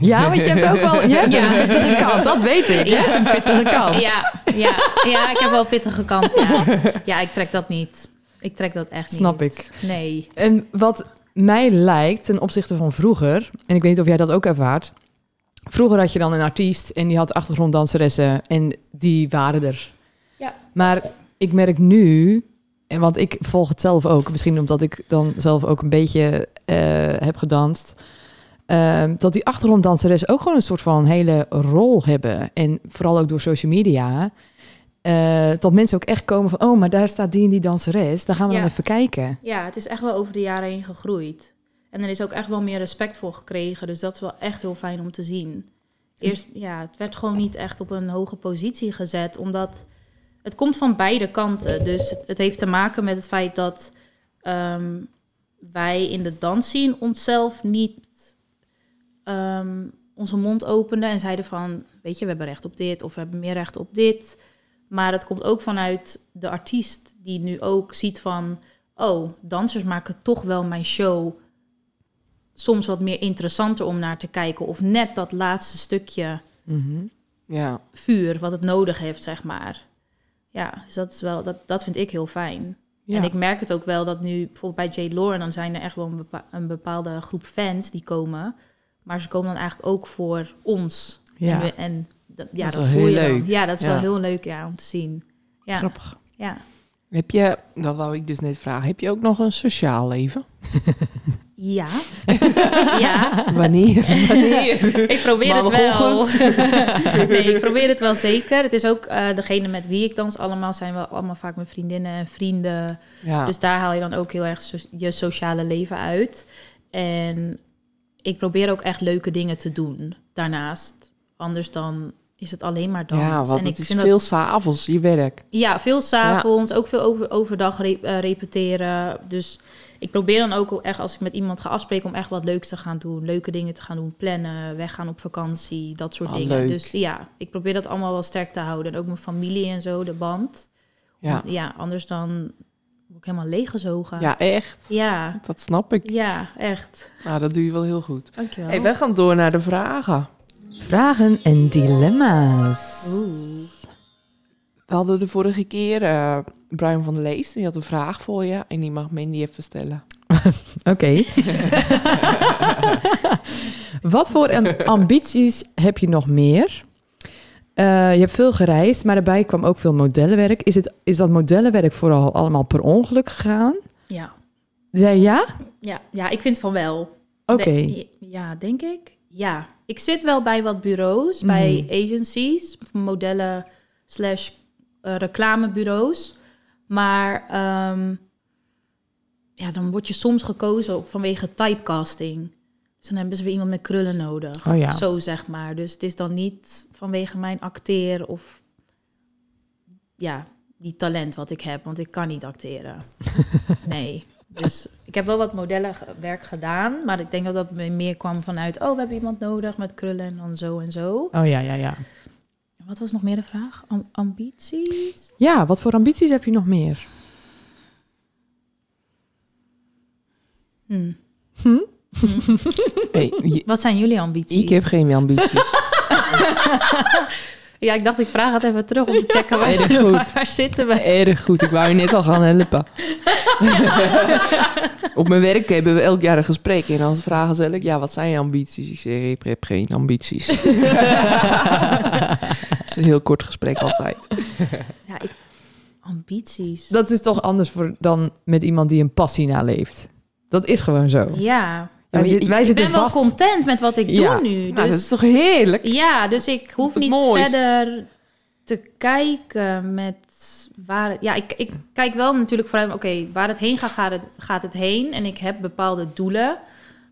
[SPEAKER 1] Ja, want je hebt ook wel... Je hebt
[SPEAKER 4] Ja.
[SPEAKER 1] een pittige kant, dat weet ik. Je hebt een pittige kant.
[SPEAKER 4] Ja, ja, ja, ik heb wel pittige kant. Ja. ja, ik trek dat niet. Ik trek dat echt niet.
[SPEAKER 1] Snap ik.
[SPEAKER 4] Nee.
[SPEAKER 1] En wat mij lijkt ten opzichte van vroeger, en ik weet niet of jij dat ook ervaart. Vroeger had je dan een artiest en die had achtergronddanseressen en die waren er.
[SPEAKER 4] Ja.
[SPEAKER 1] Maar ik merk nu, en want ik volg het zelf ook, misschien omdat ik dan zelf ook een beetje eh, heb gedanst. ehm, dat die achtergronddanseressen ook gewoon een soort van hele rol hebben. En vooral ook door social media. eh, dat mensen ook echt komen van... oh, maar daar staat die en die danseres. Daar gaan we
[SPEAKER 4] Ja.
[SPEAKER 1] dan even kijken.
[SPEAKER 4] Ja, het is echt wel over de jaren heen gegroeid. En er is ook echt wel meer respect voor gekregen. Dus dat is wel echt heel fijn om te zien. Eerst, ja, het werd gewoon niet echt op een hoge positie gezet, omdat het komt van beide kanten. Dus het, het heeft te maken met het feit dat ehm, wij in de dansscene onszelf niet ehm, onze mond openden en zeiden van, weet je, we hebben recht op dit of we hebben meer recht op dit. Maar het komt ook vanuit de artiest die nu ook ziet van, oh, dansers maken toch wel mijn show soms wat meer interessanter om naar te kijken. Of net dat laatste stukje
[SPEAKER 1] Mhm.
[SPEAKER 3] Ja,
[SPEAKER 4] vuur wat het nodig heeft, zeg maar. Ja, dus dat, is wel, dat, dat vind ik heel fijn.
[SPEAKER 3] ja.
[SPEAKER 4] En ik merk het ook wel dat nu, bijvoorbeeld bij J. Lauren, dan zijn er echt wel een, bepa- een bepaalde groep fans die komen. Maar ze komen dan eigenlijk ook voor ons. En,
[SPEAKER 1] Ja,
[SPEAKER 4] we- en dat, ja,
[SPEAKER 3] Dat is
[SPEAKER 4] dat,
[SPEAKER 3] wel
[SPEAKER 4] voel
[SPEAKER 3] heel
[SPEAKER 4] je dan.
[SPEAKER 3] leuk.
[SPEAKER 4] Ja, dat is wel
[SPEAKER 3] Ja.
[SPEAKER 4] heel leuk ja, om te zien. Ja,
[SPEAKER 1] grappig.
[SPEAKER 4] ja.
[SPEAKER 3] Heb je, dat wou ik dus net vragen, heb je ook nog een sociaal leven?
[SPEAKER 4] Ja. ja.
[SPEAKER 3] Wanneer? Wanneer?
[SPEAKER 4] Ik probeer het wel.
[SPEAKER 3] Maandagochtend.
[SPEAKER 4] nee, ik probeer het wel zeker. Het is ook eh, degene met wie ik dans allemaal zijn wel allemaal vaak mijn vriendinnen en vrienden.
[SPEAKER 3] ja.
[SPEAKER 4] Dus daar haal je dan ook heel erg so- je sociale leven uit. En ik probeer ook echt leuke dingen te doen daarnaast. Anders dan is het alleen maar dans.
[SPEAKER 3] ja, want
[SPEAKER 4] en ik
[SPEAKER 3] het is
[SPEAKER 4] vind
[SPEAKER 3] veel s'avonds, je werk.
[SPEAKER 4] ja, veel s'avonds, ook veel over, overdag re- eh, repeteren. Dus ik probeer dan ook echt, als ik met iemand ga afspreken, om echt wat leuks te gaan doen. Leuke dingen te gaan doen, plannen, weggaan op vakantie, dat soort
[SPEAKER 3] Ah,
[SPEAKER 4] dingen.
[SPEAKER 3] leuk.
[SPEAKER 4] Dus ja, ik probeer dat allemaal wel sterk te houden. En ook mijn familie en zo, de band.
[SPEAKER 3] Ja,
[SPEAKER 4] Want ja anders dan word ik helemaal leeggezogen.
[SPEAKER 3] ja echt.
[SPEAKER 4] ja,
[SPEAKER 3] Dat snap ik.
[SPEAKER 4] ja, echt.
[SPEAKER 3] Nou, dat doe je wel heel goed.
[SPEAKER 4] Dankjewel.
[SPEAKER 3] Hey, wij gaan door naar de vragen.
[SPEAKER 1] Vragen en dilemma's.
[SPEAKER 3] We hadden de vorige keer eh, Brian van der Lees, die had een vraag voor je en die mag Mandy even stellen.
[SPEAKER 1] Oké. Wat voor een ambities heb je nog meer? Eh, je hebt veel gereisd, maar daarbij kwam ook veel modellenwerk. Is, het, is dat modellenwerk vooral allemaal per ongeluk gegaan?
[SPEAKER 4] Ja.
[SPEAKER 1] Ja, ja?
[SPEAKER 4] Ja, ja, ik vind van wel.
[SPEAKER 1] Oké.
[SPEAKER 4] De- ja, denk ik. Ja. Ik zit wel bij wat bureaus, bij agencies, modellen slash eh, reclamebureaus. Maar ehm, ja, dan word je soms gekozen op, vanwege typecasting. Dus dan hebben ze weer iemand met krullen nodig.
[SPEAKER 1] Oh ja.
[SPEAKER 4] Zo zeg maar. Dus het is dan niet vanwege mijn acteer of ja, die talent wat ik heb. Want ik kan niet acteren. Nee. Dus ik heb wel wat modellenwerk gedaan, maar ik denk dat dat me- meer kwam vanuit, oh, we hebben iemand nodig met krullen en dan zo en zo.
[SPEAKER 1] Oh ja, ja, ja.
[SPEAKER 4] Wat was nog meer de vraag? Am- ambities?
[SPEAKER 1] Ja, wat voor ambities heb je nog meer?
[SPEAKER 4] Hm.
[SPEAKER 3] Hey, je-
[SPEAKER 4] Wat zijn jullie ambities?
[SPEAKER 3] ik heb geen ambities.
[SPEAKER 4] Ja, ik dacht, ik vraag het even terug om te checken waar,
[SPEAKER 3] erg goed.
[SPEAKER 4] waar zitten we.
[SPEAKER 3] Erg goed, ik wou je net al gaan helpen. Op mijn werk hebben we elk jaar een gesprek en dan vragen ze elk jaar wat zijn je ambities? Ik zeg ik heb geen ambities. Het is een heel kort gesprek altijd.
[SPEAKER 4] Ja, ik- ambities.
[SPEAKER 1] Dat is toch anders voor, dan met iemand die een passie naleeft. Dat is gewoon zo.
[SPEAKER 4] Ja,
[SPEAKER 1] Wij,
[SPEAKER 3] maar je-
[SPEAKER 1] zit- wij
[SPEAKER 4] ik
[SPEAKER 1] zitten
[SPEAKER 4] ben wel
[SPEAKER 1] vast.
[SPEAKER 4] content met wat ik
[SPEAKER 1] Ja.
[SPEAKER 4] doe nu.
[SPEAKER 3] Nou, dat
[SPEAKER 4] Dus,
[SPEAKER 3] is toch heerlijk?
[SPEAKER 4] ja, dus ik hoef
[SPEAKER 3] Het
[SPEAKER 4] niet
[SPEAKER 3] mooist.
[SPEAKER 4] verder te kijken met waar... Ja, ik, ik kijk wel natuurlijk vooruit, oké, waar het heen gaat, gaat het, gaat het heen. En ik heb bepaalde doelen,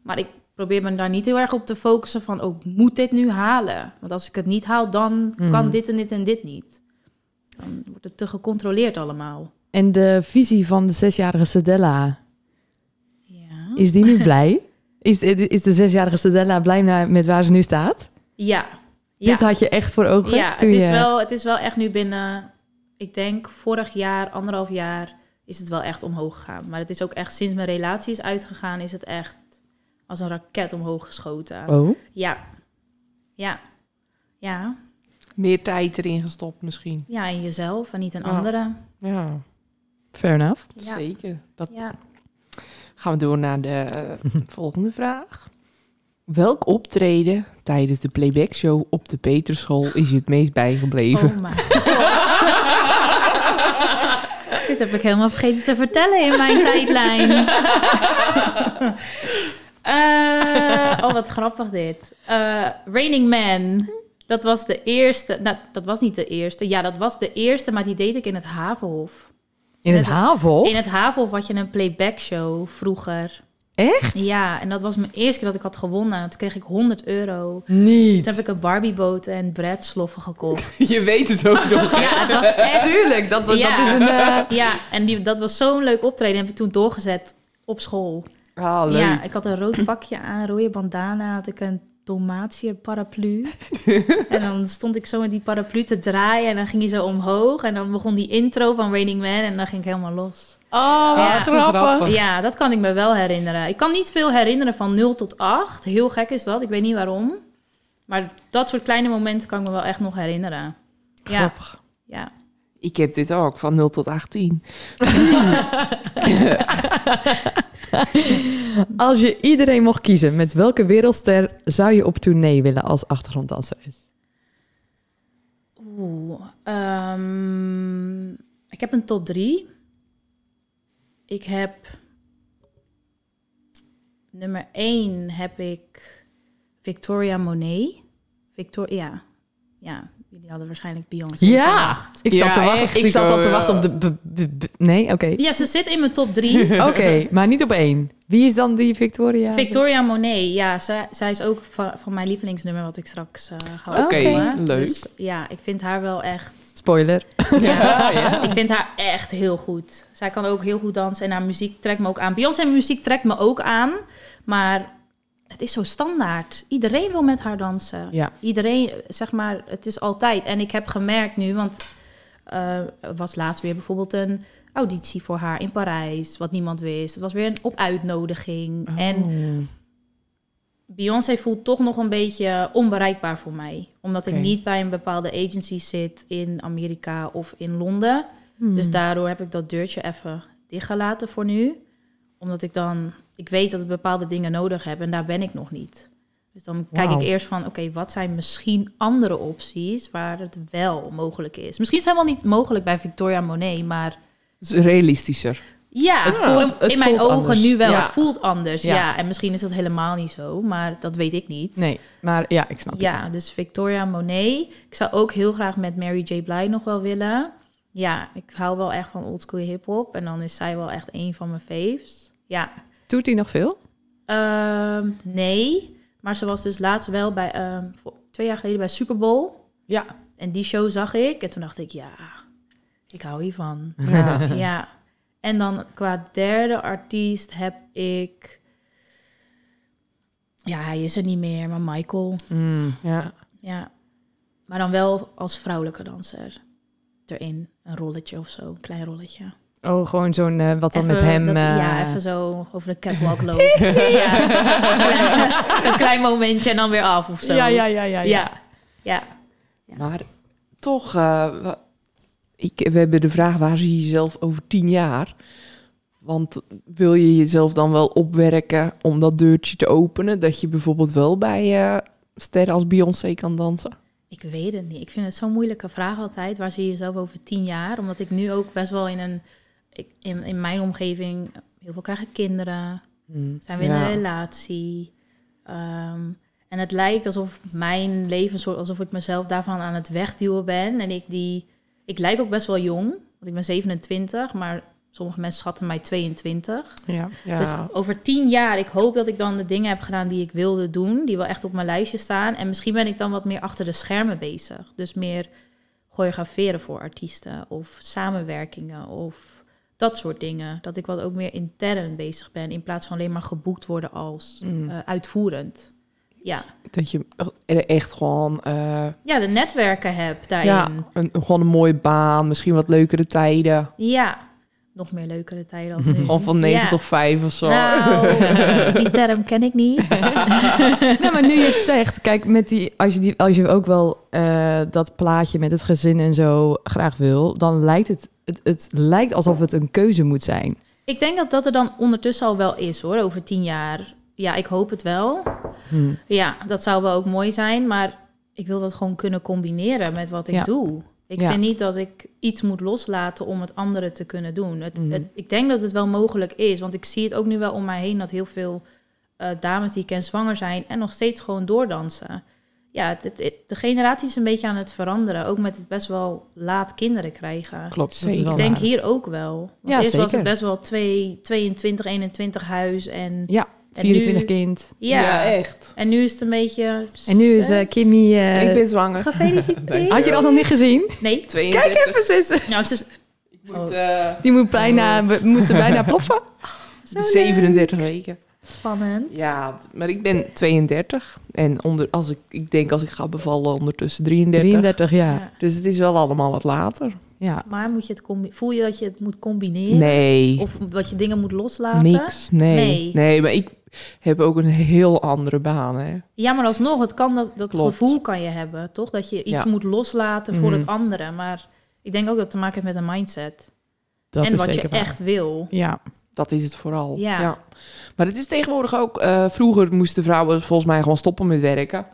[SPEAKER 4] maar ik probeer me daar niet heel erg op te focussen van, oh, ik moet dit nu halen? Want als ik het niet haal, dan
[SPEAKER 1] Mhm.
[SPEAKER 4] kan dit en dit en dit niet. Dan wordt het te gecontroleerd allemaal.
[SPEAKER 1] En de visie van de zesjarige Sedella,
[SPEAKER 4] Ja.
[SPEAKER 1] is die nu blij? Is, is de zesjarige Sedella blij na- met waar ze nu staat?
[SPEAKER 4] Ja.
[SPEAKER 1] Dit had je echt voor ogen
[SPEAKER 4] Ja,
[SPEAKER 1] toen
[SPEAKER 4] het is,
[SPEAKER 1] je...
[SPEAKER 4] wel, het is wel echt nu binnen, ik denk vorig jaar, anderhalf jaar, is het wel echt omhoog gegaan. Maar het is ook echt sinds mijn relatie is uitgegaan, is het echt als een raket omhoog geschoten.
[SPEAKER 1] Oh,
[SPEAKER 4] Ja, ja, ja.
[SPEAKER 3] Meer tijd erin gestopt misschien.
[SPEAKER 4] Ja, in jezelf en niet in
[SPEAKER 3] Ja.
[SPEAKER 4] anderen.
[SPEAKER 3] Ja,
[SPEAKER 1] fair enough.
[SPEAKER 4] Ja.
[SPEAKER 3] zeker. Dat
[SPEAKER 4] Ja.
[SPEAKER 3] gaan we door naar de eh, volgende vraag. Welk optreden tijdens de playback show op de Peterschool is je het meest bijgebleven?
[SPEAKER 4] Oh my god. Dit heb ik helemaal vergeten te vertellen in mijn tijdlijn. Eh, oh, wat grappig dit. Eh, Raining Man. Dat was de eerste. Nou, dat was niet de eerste. Ja, dat was de eerste, maar die deed ik in het Havenhof.
[SPEAKER 1] In het
[SPEAKER 4] Net-
[SPEAKER 1] Havel?
[SPEAKER 4] In het Havenhof had je een playback show vroeger.
[SPEAKER 1] Echt?
[SPEAKER 4] Ja, en dat was mijn eerste keer dat ik had gewonnen. Toen kreeg ik 100 euro.
[SPEAKER 1] Niet.
[SPEAKER 4] Toen heb ik een Barbieboot en breadsloffen gekocht. Dus
[SPEAKER 3] Je weet het ook nog.
[SPEAKER 4] Ja, het was echt
[SPEAKER 1] Tuurlijk, dat,
[SPEAKER 4] Ja.
[SPEAKER 1] dat is een... eh,
[SPEAKER 4] Ja, en die, dat was zo'n leuk optreden. heb ik toen doorgezet op school.
[SPEAKER 3] Ah, leuk.
[SPEAKER 4] Ja, ik had een rood pakje aan, rode bandana. Had ik een Dalmatiër paraplu. en dan stond ik zo met die paraplu te draaien en dan ging hij zo omhoog. En dan begon die intro van Raining Man en dan ging ik helemaal los.
[SPEAKER 1] Oh, wat
[SPEAKER 4] Ja.
[SPEAKER 1] grappig.
[SPEAKER 3] Grappig.
[SPEAKER 4] Ja, dat kan ik me wel herinneren. Ik kan niet veel herinneren van 0 tot 8. Heel gek is dat, ik weet niet waarom. Maar dat soort kleine momenten kan ik me wel echt nog herinneren. Ja,
[SPEAKER 3] Grappig.
[SPEAKER 4] ja.
[SPEAKER 3] Ik heb dit ook, van 0 tot 18.
[SPEAKER 1] Als je iedereen mocht kiezen, met welke wereldster zou je op tournee willen als achtergronddanseres?
[SPEAKER 4] Oeh, ehm, ik heb een top 3. Ik heb nummer 1 heb ik Victoria Monet. Victoria, ja, jullie hadden waarschijnlijk Beyoncé. gevraagd.
[SPEAKER 1] ik
[SPEAKER 3] Ja,
[SPEAKER 1] zat te
[SPEAKER 3] echt,
[SPEAKER 1] wachten. Ik eh,
[SPEAKER 3] ik
[SPEAKER 1] zat al
[SPEAKER 3] ook,
[SPEAKER 1] te
[SPEAKER 3] ja.
[SPEAKER 1] wachten op de. b- b- b- nee, oké.
[SPEAKER 4] Ja, ze zit in mijn top 3.
[SPEAKER 1] Oké, maar niet op één. Wie is dan die Victoria?
[SPEAKER 4] Victoria Monet, ja, zij, zij is ook van, van mijn lievelingsnummer wat ik straks eh, ga
[SPEAKER 3] Oké,
[SPEAKER 4] opnoemen.
[SPEAKER 3] leuk.
[SPEAKER 4] Dus ja, ik vind haar wel echt
[SPEAKER 1] Spoiler.
[SPEAKER 3] Ja, ja.
[SPEAKER 4] Ik vind haar echt heel goed. Zij kan ook heel goed dansen en haar muziek trekt me ook aan. Beyoncé muziek trekt me ook aan, maar het is zo standaard. Iedereen wil met haar dansen.
[SPEAKER 1] Ja.
[SPEAKER 4] Iedereen, zeg maar, het is altijd. En ik heb gemerkt nu, want eh, er was laatst weer bijvoorbeeld een auditie voor haar in Parijs, wat niemand wist. Het was weer een op uitnodiging.
[SPEAKER 1] Oh.
[SPEAKER 4] En Beyoncé voelt toch nog een beetje onbereikbaar voor mij. Omdat
[SPEAKER 1] Oké.
[SPEAKER 4] ik niet bij een bepaalde agency zit in Amerika of in Londen.
[SPEAKER 1] Hmm.
[SPEAKER 4] Dus daardoor heb ik dat deurtje even dichtgelaten voor nu. Omdat ik dan, ik weet dat ik bepaalde dingen nodig heb en daar ben ik nog niet. Dus dan kijk
[SPEAKER 1] Wauw.
[SPEAKER 4] ik eerst van, oké, wat zijn misschien andere opties waar het wel mogelijk is? Misschien is het helemaal niet mogelijk bij Victoria Monet, maar
[SPEAKER 3] Het is realistischer.
[SPEAKER 4] ja,
[SPEAKER 1] Het voelt-
[SPEAKER 4] in
[SPEAKER 1] het
[SPEAKER 4] mijn
[SPEAKER 1] voelt
[SPEAKER 4] ogen
[SPEAKER 1] anders.
[SPEAKER 4] nu wel.
[SPEAKER 1] Ja.
[SPEAKER 4] Het voelt anders,
[SPEAKER 1] Ja.
[SPEAKER 4] ja. En misschien is dat helemaal niet zo, maar dat weet ik niet.
[SPEAKER 1] Nee, maar ja, ik snap het.
[SPEAKER 4] Ja, dus Victoria Monet. Ik zou ook heel graag met Mary J. Blige nog wel willen. Ja, ik hou wel echt van oldschool hip-hop. En dan is zij wel echt een van mijn faves. Ja.
[SPEAKER 1] Doet hij nog veel?
[SPEAKER 4] Ehm, nee, maar ze was dus laatst wel bij, ehm, voor- twee jaar geleden bij Super Bowl.
[SPEAKER 1] Ja.
[SPEAKER 4] En die show zag ik. En toen dacht ik, ja, ik hou hiervan.
[SPEAKER 3] Ja.
[SPEAKER 4] ja. En dan qua derde artiest heb ik. Ja, hij is er niet meer, maar Michael.
[SPEAKER 1] Hmm.
[SPEAKER 3] Ja.
[SPEAKER 4] Ja. Maar dan wel als vrouwelijke danser erin. Een rolletje of zo, een klein rolletje.
[SPEAKER 1] Oh, gewoon zo'n eh, wat dan
[SPEAKER 4] Even
[SPEAKER 1] met hem.
[SPEAKER 4] dat-
[SPEAKER 1] eh,
[SPEAKER 4] Ja, even zo over de catwalk lopen. ja. Zo'n klein momentje en dan weer af of zo.
[SPEAKER 1] ja, ja, ja, ja,
[SPEAKER 4] ja.
[SPEAKER 1] ja.
[SPEAKER 4] ja. ja.
[SPEAKER 3] Maar toch, eh, wa- ik, we hebben de vraag, waar zie je jezelf over tien jaar? Want wil je jezelf dan wel opwerken om dat deurtje te openen? Dat je bijvoorbeeld wel bij eh sterren als Beyoncé kan dansen?
[SPEAKER 4] Ik weet het niet. Ik vind het zo'n moeilijke vraag altijd. Waar zie je jezelf over tien jaar? Omdat ik nu ook best wel in een... Ik, in, in mijn omgeving... Heel veel krijgen kinderen.
[SPEAKER 1] Hmm.
[SPEAKER 4] Zijn we in
[SPEAKER 3] Ja.
[SPEAKER 4] een relatie? Ehm, en het lijkt alsof mijn leven... soort- Alsof ik mezelf daarvan aan het wegduwen ben. En ik die... Ik lijk ook best wel jong. Want ik ben 27. Maar sommige mensen schatten mij 22.
[SPEAKER 1] Ja.
[SPEAKER 3] Ja,
[SPEAKER 4] Dus over tien jaar, ik hoop dat ik dan de dingen heb gedaan die ik wilde doen, die wel echt op mijn lijstje staan. En misschien ben ik dan wat meer achter de schermen bezig. Dus meer choreograferen voor artiesten of samenwerkingen of dat soort dingen. Dat ik wat ook meer intern bezig ben in plaats van alleen maar geboekt worden als
[SPEAKER 1] Mm.
[SPEAKER 4] eh, uitvoerend. Ja.
[SPEAKER 3] dat je e- echt gewoon, eh,
[SPEAKER 4] ja, de netwerken heb daarin.
[SPEAKER 3] ja, een, gewoon een mooie baan, misschien wat leukere tijden.
[SPEAKER 4] Ja. nog meer leukere tijden als nu.
[SPEAKER 3] Gewoon van 9
[SPEAKER 4] Ja.
[SPEAKER 3] tot 5 of zo.
[SPEAKER 4] Nou, die term ken ik niet.
[SPEAKER 1] Nou, maar nu je het zegt, kijk, met die, als, je die, als je ook wel eh, dat plaatje met het gezin en zo graag wil, dan lijkt het, het, het lijkt alsof het een keuze moet zijn.
[SPEAKER 4] Ik denk dat dat er dan ondertussen al wel is hoor, over tien jaar. Ja, ik hoop het wel.
[SPEAKER 1] Hmm.
[SPEAKER 4] Ja, dat zou wel ook mooi zijn, maar ik wil dat gewoon kunnen combineren met wat ik
[SPEAKER 1] Ja.
[SPEAKER 4] doe. Ik
[SPEAKER 1] Ja.
[SPEAKER 4] vind niet dat ik iets moet loslaten om het andere te kunnen doen. Het,
[SPEAKER 3] Mhm.
[SPEAKER 4] het- ik denk dat het wel mogelijk is, want ik zie het ook nu wel om mij heen dat heel veel eh, dames die ik ken zwanger zijn en nog steeds gewoon doordansen. Ja, het- het- het- de generatie is een beetje aan het veranderen, ook met het best wel laat kinderen krijgen.
[SPEAKER 1] Klopt,
[SPEAKER 3] zeker.
[SPEAKER 4] Ik denk hier ook wel. Want
[SPEAKER 1] Ja,
[SPEAKER 4] eerst was
[SPEAKER 1] zeker.
[SPEAKER 4] het best wel twee, 22, 21 huis en
[SPEAKER 1] Ja,
[SPEAKER 4] En
[SPEAKER 1] 24
[SPEAKER 4] nu-
[SPEAKER 1] kind.
[SPEAKER 4] ja.
[SPEAKER 3] echt.
[SPEAKER 4] En nu is het een beetje...
[SPEAKER 1] En nu is eh,
[SPEAKER 4] zes.
[SPEAKER 1] Kimmy... eh,
[SPEAKER 3] ik ben zwanger.
[SPEAKER 4] Gefeliciteerd.
[SPEAKER 1] Had je dat nog niet gezien?
[SPEAKER 4] Nee.
[SPEAKER 3] 32. Kijk even.
[SPEAKER 1] Precies.
[SPEAKER 4] Nou, ze is
[SPEAKER 3] moet, eh,
[SPEAKER 1] Oh. Die moet bijna, we moesten bijna ploffen.
[SPEAKER 3] 37 weken.
[SPEAKER 4] Spannend.
[SPEAKER 3] Ja, maar ik ben 32 en onder, als ik, ik denk als ik ga bevallen ondertussen 33.
[SPEAKER 1] 33 jaar.
[SPEAKER 4] Ja.
[SPEAKER 3] Dus het is wel allemaal wat later.
[SPEAKER 1] Ja.
[SPEAKER 4] Maar moet je het combi- voel je dat je het moet combineren?
[SPEAKER 3] Nee,
[SPEAKER 4] Of dat je dingen moet loslaten?
[SPEAKER 3] niks. Nee.
[SPEAKER 4] Nee.
[SPEAKER 3] nee. maar ik heb ook een heel andere baan. Hè.
[SPEAKER 4] Ja, maar alsnog, het kan dat, dat
[SPEAKER 3] Klopt.
[SPEAKER 4] gevoel kan je hebben, toch? Dat je iets
[SPEAKER 3] Ja.
[SPEAKER 4] moet loslaten voor het
[SPEAKER 3] Mhm.
[SPEAKER 4] andere. Maar ik denk ook dat het te maken heeft met een mindset.
[SPEAKER 1] Dat
[SPEAKER 4] en
[SPEAKER 1] is
[SPEAKER 4] wat
[SPEAKER 1] zeker
[SPEAKER 4] je
[SPEAKER 1] waar.
[SPEAKER 4] echt wil.
[SPEAKER 1] Ja.
[SPEAKER 3] Dat is het vooral.
[SPEAKER 4] Ja.
[SPEAKER 3] Maar het is tegenwoordig ook... eh, vroeger moesten vrouwen volgens mij gewoon stoppen met werken.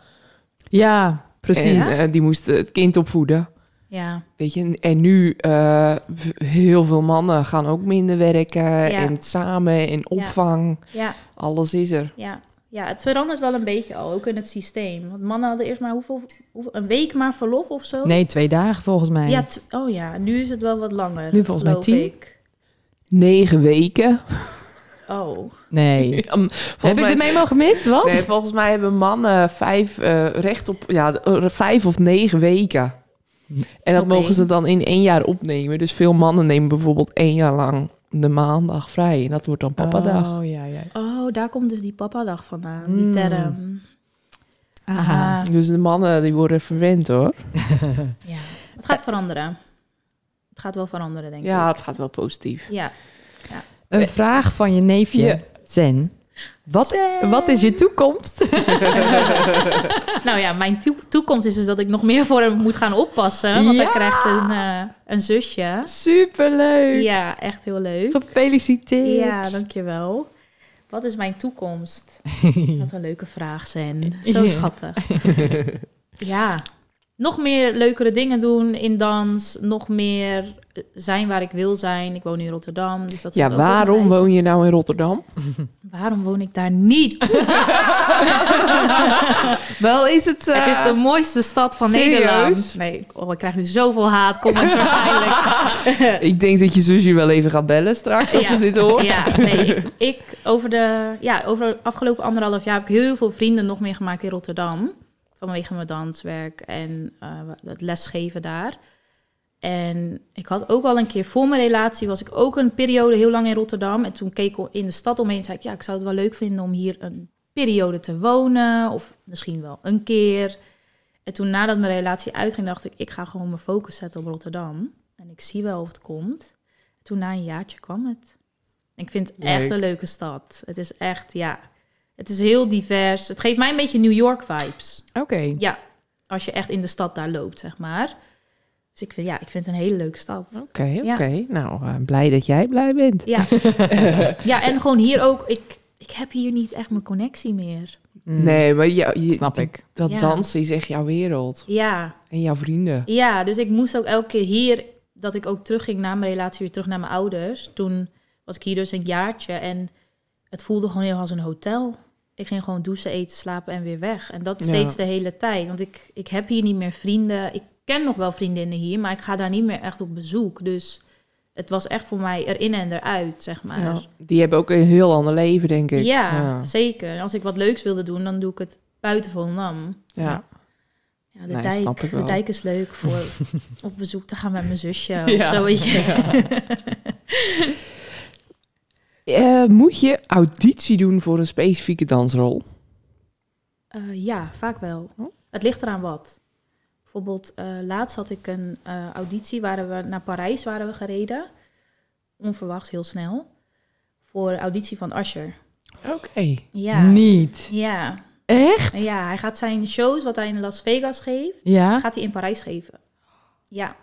[SPEAKER 1] ja, precies.
[SPEAKER 3] En eh, die moesten het kind opvoeden.
[SPEAKER 4] Ja,
[SPEAKER 3] Weet je, en- en nu eh, v- heel veel mannen gaan ook minder werken. En het samen en opvang.
[SPEAKER 4] ja,
[SPEAKER 3] Alles is er.
[SPEAKER 4] ja. Ja, het verandert wel een beetje al, ook in het systeem. Want mannen hadden eerst maar hoeveel, hoeveel- een week maar verlof of zo?
[SPEAKER 1] Nee, twee dagen volgens mij.
[SPEAKER 4] Ja, t- oh ja, nu is het wel wat langer.
[SPEAKER 1] Nu volgens mij
[SPEAKER 4] geloof
[SPEAKER 1] tien.
[SPEAKER 4] ik.
[SPEAKER 3] Negen weken.
[SPEAKER 4] Oh,
[SPEAKER 1] Nee.
[SPEAKER 3] Ja, m-
[SPEAKER 1] Heb
[SPEAKER 3] volgens
[SPEAKER 1] ik de
[SPEAKER 3] mij-
[SPEAKER 1] memo gemist? Wat?
[SPEAKER 3] Nee, volgens mij hebben mannen vijf, eh, recht op, ja, eh, vijf of negen weken. En dat
[SPEAKER 4] Oké.
[SPEAKER 3] mogen ze dan in één jaar opnemen. Dus veel mannen nemen bijvoorbeeld één jaar lang de maandag vrij. En dat wordt dan papadag.
[SPEAKER 1] Oh, ja, ja.
[SPEAKER 4] oh daar komt dus die papa-dag vandaan, die
[SPEAKER 1] Mm.
[SPEAKER 4] term.
[SPEAKER 1] Aha.
[SPEAKER 4] Ah,
[SPEAKER 3] Dus de mannen die worden verwend hoor.
[SPEAKER 4] ja. Het gaat veranderen. Het gaat wel veranderen, denk
[SPEAKER 3] Ja,
[SPEAKER 4] ik.
[SPEAKER 3] het gaat wel positief.
[SPEAKER 4] Ja.
[SPEAKER 1] Een vraag van je neefje,
[SPEAKER 3] Eh, Ja.
[SPEAKER 1] Zen. Wat,
[SPEAKER 4] Zen.
[SPEAKER 1] wat is je toekomst?
[SPEAKER 4] Nou ja, mijn toe- toekomst is dus dat ik nog meer voor hem moet gaan oppassen. Want
[SPEAKER 1] Ja!
[SPEAKER 4] hij krijgt een, eh, een zusje.
[SPEAKER 1] Superleuk.
[SPEAKER 4] Ja, echt heel leuk.
[SPEAKER 1] Gefeliciteerd.
[SPEAKER 4] Ja, dankjewel. Wat is mijn toekomst? Wat een leuke vraag, zijn. Zo
[SPEAKER 1] Ja.
[SPEAKER 4] schattig. Ja, nog meer leukere dingen doen in dans. Nog meer eh, zijn waar ik wil zijn. Ik woon in Rotterdam. Dus dat zit
[SPEAKER 3] Ja,
[SPEAKER 4] ook op een
[SPEAKER 3] waarom
[SPEAKER 4] lijst.
[SPEAKER 3] woon je nou in Rotterdam?
[SPEAKER 4] Waarom woon ik daar niet?
[SPEAKER 3] Wel is het... eh,
[SPEAKER 4] Het is de mooiste stad van
[SPEAKER 3] serieus?
[SPEAKER 4] Nederland. Nee, oh, ik krijg nu zoveel haat. Comments waarschijnlijk.
[SPEAKER 3] Ik denk dat je zusje wel even gaat bellen straks als
[SPEAKER 4] Ja.
[SPEAKER 3] ze dit hoort.
[SPEAKER 4] Ja, nee, ik, ik over, de, ja, over de afgelopen anderhalf jaar heb ik heel veel vrienden nog meer gemaakt in Rotterdam. Vanwege mijn danswerk en eh, het lesgeven daar. En ik had ook al een keer voor mijn relatie, was ik ook een periode heel lang in Rotterdam. En toen keek ik in de stad omheen en zei ik, ja, ik zou het wel leuk vinden om hier een periode te wonen. Of misschien wel een keer. En toen nadat mijn relatie uitging, dacht ik, ik ga gewoon mijn focus zetten op Rotterdam. En ik zie wel of het komt. Toen na een jaartje kwam het. Ik vind het echt
[SPEAKER 3] Leuk.
[SPEAKER 4] een leuke stad. Het is echt, ja, het is heel divers. Het geeft mij een beetje New York vibes.
[SPEAKER 1] Oké.
[SPEAKER 4] Ja, als je echt in de stad daar loopt, zeg maar. Dus ik vind, ja, ik vind het een hele leuke stad.
[SPEAKER 3] Oké, oké. Nou, eh, blij dat jij blij bent.
[SPEAKER 4] Ja, ja en gewoon hier ook. Ik, ik heb hier niet echt mijn connectie meer.
[SPEAKER 1] Mm,
[SPEAKER 3] Nee, maar jou- je,
[SPEAKER 1] Snap ik.
[SPEAKER 3] dat
[SPEAKER 4] Ja.
[SPEAKER 3] dansen is echt jouw wereld.
[SPEAKER 4] Ja,
[SPEAKER 3] En jouw vrienden.
[SPEAKER 4] ja, dus ik moest ook elke keer hier, dat ik ook terugging na mijn relatie, weer terug naar mijn ouders. Toen was ik hier dus een jaartje en het voelde gewoon heel als een hotel. Ik ging gewoon douchen, eten, slapen en weer weg. En dat
[SPEAKER 3] Ja.
[SPEAKER 4] steeds de hele tijd. Want ik, ik heb hier niet meer vrienden. Ik ken nog wel vriendinnen hier, maar ik ga daar niet meer echt op bezoek. Dus het was echt voor mij erin en eruit, zeg maar.
[SPEAKER 3] Ja, die hebben ook een heel ander leven, denk ik.
[SPEAKER 4] Ja,
[SPEAKER 3] ja.
[SPEAKER 4] zeker. Als ik wat leuks wilde doen, dan doe ik het buiten Volendam.
[SPEAKER 3] Ja.
[SPEAKER 4] Ja, de,
[SPEAKER 3] Nee, snap ik
[SPEAKER 4] dijk, de
[SPEAKER 3] wel.
[SPEAKER 4] dijk is leuk voor op bezoek te gaan met mijn zusje
[SPEAKER 3] Ja.
[SPEAKER 4] of zo. Weet je.
[SPEAKER 3] Eh, moet je auditie doen voor een specifieke dansrol?
[SPEAKER 4] Eh, ja, vaak wel.
[SPEAKER 3] Hm?
[SPEAKER 4] Het ligt eraan wat. Bijvoorbeeld, eh, laatst had ik een eh, auditie, waren we naar Parijs waren we gereden. Onverwachts, heel snel. Voor een auditie van Asher.
[SPEAKER 3] Oké.
[SPEAKER 4] Ja.
[SPEAKER 1] Niet.
[SPEAKER 4] Ja.
[SPEAKER 1] Echt?
[SPEAKER 4] ja, hij gaat zijn shows, wat hij in Las Vegas geeft,
[SPEAKER 1] Ja.
[SPEAKER 4] gaat hij in Parijs geven. Ja,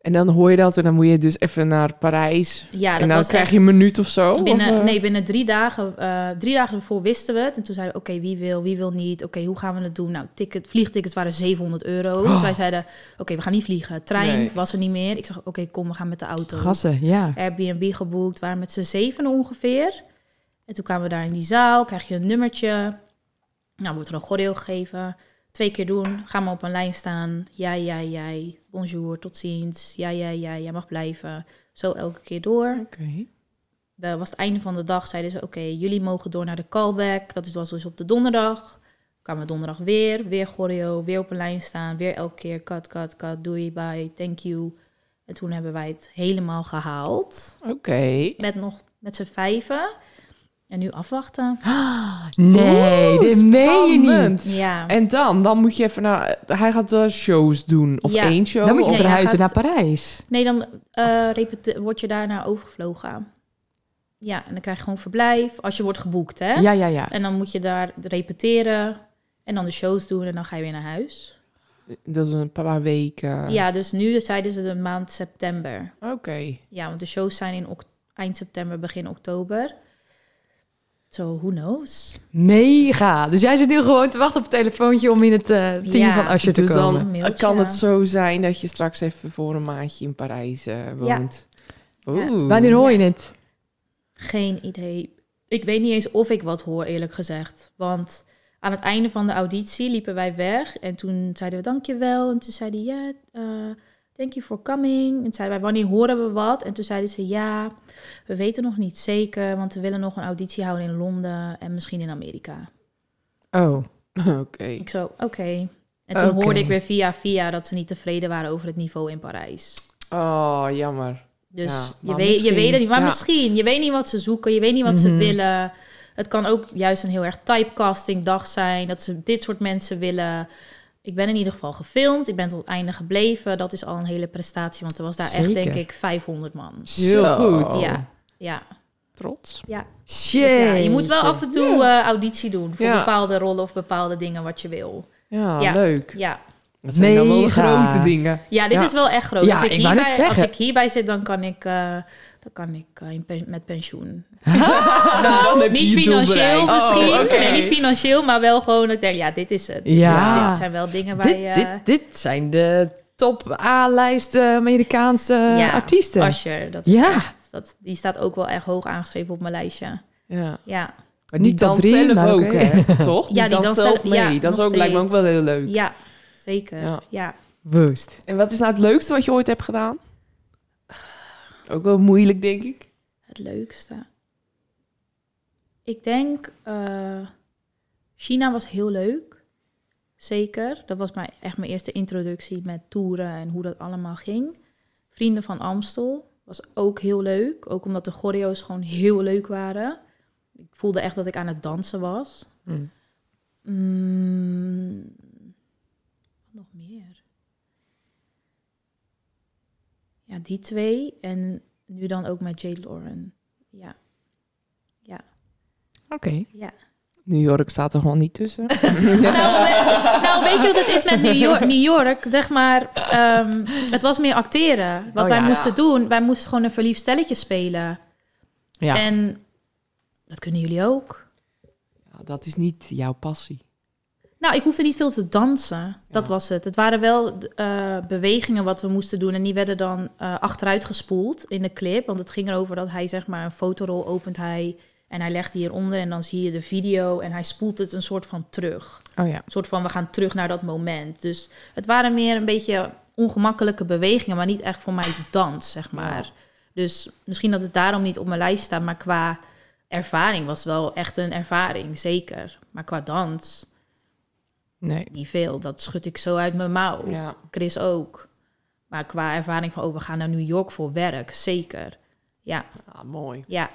[SPEAKER 3] En dan hoor je dat en dan moet je dus even naar Parijs.
[SPEAKER 4] ja dat
[SPEAKER 3] en dan
[SPEAKER 4] was
[SPEAKER 3] krijg
[SPEAKER 4] echt-
[SPEAKER 3] je een minuut of zo?
[SPEAKER 4] Binnen,
[SPEAKER 3] of, eh?
[SPEAKER 4] Nee, binnen drie dagen, eh, drie dagen ervoor wisten we het. En toen zeiden we, oké, wie wil, wie wil niet? Oké, hoe gaan we het doen? Nou, ticket, vliegtickets waren 700 euro. Dus wij zeiden, oké, we gaan niet vliegen. Trein
[SPEAKER 3] Oh. Nee.
[SPEAKER 4] was er niet meer. Ik zeg, oké, kom, we gaan met de auto.
[SPEAKER 1] Gassen, ja.
[SPEAKER 4] Airbnb geboekt, waren met z'n zeven ongeveer. En toen kwamen we daar in die zaal, krijg je een nummertje. Nou, wordt er een choreo gegeven. Twee keer doen, ga maar op een lijn staan. Jij, jij, jij. Bonjour, tot ziens. Jij, jij, jij. Jij mag blijven. Zo elke keer door.
[SPEAKER 3] Oké.
[SPEAKER 4] Dat was het einde van de dag, zeiden ze: Oké, jullie mogen door naar de callback. Dat is was dus op de donderdag. Kwamen we donderdag weer, weer choreo, weer op een lijn staan, weer elke keer cut, cut, cut, doei, bye, thank you. En toen hebben wij het helemaal gehaald
[SPEAKER 3] Oké.
[SPEAKER 4] met nog met z'n vijven. En nu afwachten.
[SPEAKER 1] Nee, dit meen je niet.
[SPEAKER 3] Spannend.
[SPEAKER 4] Ja.
[SPEAKER 3] En dan, dan moet je even naar... Hij gaat eh, shows doen. Of
[SPEAKER 4] Ja.
[SPEAKER 3] één show.
[SPEAKER 1] Dan moet je
[SPEAKER 3] of-
[SPEAKER 4] Nee,
[SPEAKER 1] verhuizen
[SPEAKER 4] hij
[SPEAKER 1] naar
[SPEAKER 4] gaat-
[SPEAKER 1] Parijs.
[SPEAKER 4] Nee, dan eh, repete- word je daarna overgevlogen. Ja, en dan krijg je gewoon verblijf als je wordt geboekt, hè?
[SPEAKER 1] Ja, ja, ja.
[SPEAKER 4] En dan moet je daar repeteren en dan de shows doen en dan ga je weer naar huis.
[SPEAKER 3] Dat is een paar weken.
[SPEAKER 4] Ja, dus nu zeiden ze de maand september.
[SPEAKER 3] Oké.
[SPEAKER 4] Ja, want de shows zijn in ok- eind september, begin oktober. So, who knows?
[SPEAKER 1] Mega. Dus jij zit nu gewoon te wachten op het telefoontje om in het eh, team
[SPEAKER 4] Ja.
[SPEAKER 1] van Asje te
[SPEAKER 3] Dus
[SPEAKER 1] komen.
[SPEAKER 3] dan
[SPEAKER 4] Een mailtje.
[SPEAKER 3] kan het zo zijn dat je straks even voor een maandje in Parijs eh, woont. Oeh.
[SPEAKER 1] Wanneer hoor je het?
[SPEAKER 4] Geen idee. Ik weet niet eens of ik wat hoor, eerlijk gezegd. Want aan het einde van de auditie liepen wij weg. En toen zeiden we dankjewel. En toen zei hij, ja, eh, thank you for coming. En toen zeiden wij, wanneer horen we wat? En toen zeiden ze, ja, we weten nog niet zeker. Want we willen nog een auditie houden in Londen en misschien in Amerika.
[SPEAKER 1] Oh.
[SPEAKER 3] Oké.
[SPEAKER 4] Ik zo, oké. En toen
[SPEAKER 1] Oké.
[SPEAKER 4] hoorde ik weer via via dat ze niet tevreden waren over het niveau in Parijs.
[SPEAKER 3] Oh, jammer.
[SPEAKER 4] Dus
[SPEAKER 3] Ja,
[SPEAKER 4] je,
[SPEAKER 3] maar
[SPEAKER 4] weet, je
[SPEAKER 3] misschien.
[SPEAKER 4] weet het niet. Maar
[SPEAKER 3] Ja.
[SPEAKER 4] misschien. Je weet niet wat ze zoeken. Je weet niet wat
[SPEAKER 1] Mhm.
[SPEAKER 4] ze willen. Het kan ook juist een heel erg typecasting dag zijn. Dat ze dit soort mensen willen. Ik ben in ieder geval gefilmd. Ik ben tot het einde gebleven. Dat is al een hele prestatie. Want er was daar echt, denk
[SPEAKER 1] Zeker.
[SPEAKER 4] ik, 500 man.
[SPEAKER 3] Heel goed.
[SPEAKER 4] Ja, ja.
[SPEAKER 3] Trots.
[SPEAKER 1] Shit.
[SPEAKER 4] Dus ja, je moet wel af en toe eh, auditie doen voor
[SPEAKER 3] Ja.
[SPEAKER 4] bepaalde rollen of bepaalde dingen wat je wil.
[SPEAKER 3] Ja,
[SPEAKER 4] Ja.
[SPEAKER 3] leuk.
[SPEAKER 4] Ja,
[SPEAKER 3] Dat zijn dan wel de
[SPEAKER 1] Mega.
[SPEAKER 3] grote dingen.
[SPEAKER 4] ja dit
[SPEAKER 3] Ja.
[SPEAKER 4] is wel echt groot.
[SPEAKER 1] Ja,
[SPEAKER 4] als, ik
[SPEAKER 1] ik wou net
[SPEAKER 4] hierbij, als
[SPEAKER 1] zeggen.
[SPEAKER 4] ik hierbij zit, dan kan ik, eh, dan kan ik eh, in pen- met pensioen.
[SPEAKER 3] Dan heb je
[SPEAKER 4] Niet
[SPEAKER 3] je doel
[SPEAKER 4] financieel dus
[SPEAKER 3] bereikt.
[SPEAKER 4] misschien.
[SPEAKER 3] Oh, oké.
[SPEAKER 4] Nee, niet financieel, maar wel gewoon. dat Ik denk, ja, dit is het. Dus
[SPEAKER 1] Ja.
[SPEAKER 4] dit zijn wel dingen waar
[SPEAKER 1] Dit,
[SPEAKER 4] je.
[SPEAKER 1] dit, dit zijn de top A-lijst eh, Amerikaanse
[SPEAKER 4] ja,
[SPEAKER 1] artiesten.
[SPEAKER 4] Asher, eh, dat is
[SPEAKER 1] Ja.
[SPEAKER 4] echt- dat, die staat ook wel echt hoog aangeschreven op mijn lijstje.
[SPEAKER 3] Ja.
[SPEAKER 4] Ja,
[SPEAKER 3] Maar die
[SPEAKER 1] Niet top
[SPEAKER 3] dan
[SPEAKER 1] drie,
[SPEAKER 3] zelf
[SPEAKER 1] maar
[SPEAKER 3] ook,
[SPEAKER 1] oké.
[SPEAKER 3] hè? Toch?
[SPEAKER 4] Ja, die
[SPEAKER 3] dan
[SPEAKER 4] danst
[SPEAKER 3] zelf
[SPEAKER 4] zelf-
[SPEAKER 3] mee.
[SPEAKER 4] ja,
[SPEAKER 3] dat is
[SPEAKER 4] nog
[SPEAKER 3] ook, lijkt me ook
[SPEAKER 4] steeds.
[SPEAKER 3] wel heel leuk.
[SPEAKER 4] ja zeker.
[SPEAKER 3] Ja.
[SPEAKER 4] Ja.
[SPEAKER 1] Woest.
[SPEAKER 3] En wat is nou het leukste wat je ooit hebt gedaan? Ook wel moeilijk, denk ik.
[SPEAKER 4] het leukste. Ik denk. eh, China was heel leuk. Zeker. Dat was mijn, echt mijn eerste introductie met toeren en hoe dat allemaal ging. Vrienden van Amstel was ook heel leuk. Ook omdat de choreo's gewoon heel leuk waren. Ik voelde echt dat ik aan het dansen was.
[SPEAKER 1] Mm.
[SPEAKER 4] Mm, wat nog meer? Ja, die twee. En nu dan ook met Jade Lauren. Ja,
[SPEAKER 1] Oké.
[SPEAKER 4] ja.
[SPEAKER 3] New York staat er gewoon niet tussen.
[SPEAKER 4] Nou, we- nou, weet je wat het is met New York? New York zeg maar, ehm, het was meer acteren. Wat
[SPEAKER 1] Oh,
[SPEAKER 4] wij
[SPEAKER 1] ja.
[SPEAKER 4] moesten doen, wij moesten gewoon een verliefd stelletje spelen.
[SPEAKER 1] Ja.
[SPEAKER 4] En dat kunnen jullie ook.
[SPEAKER 3] Ja, dat is niet jouw passie.
[SPEAKER 4] Nou, ik hoefde niet veel te dansen. Dat
[SPEAKER 3] Ja.
[SPEAKER 4] was het. Het waren wel eh, bewegingen wat we moesten doen. En die werden dan eh, achteruit gespoeld in de clip. Want het ging erover dat hij, zeg maar, een fotorol opent hij. En hij legt die hieronder. En dan zie je de video. En hij spoelt het een soort van terug.
[SPEAKER 1] Oh ja.
[SPEAKER 4] Een soort van, we gaan terug naar dat moment. Dus het waren meer een beetje ongemakkelijke bewegingen, maar niet echt voor mij dans, zeg maar. Dus misschien dat het daarom niet op mijn lijst staat, maar qua ervaring was het wel echt een ervaring, zeker. Maar qua dans,
[SPEAKER 1] Nee.
[SPEAKER 4] niet veel. Dat schud ik zo uit mijn mouw.
[SPEAKER 3] Ja.
[SPEAKER 4] Chris ook. Maar qua ervaring van, oh, we gaan naar New York voor werk, zeker. Ja,
[SPEAKER 3] Ah, mooi.
[SPEAKER 4] ja.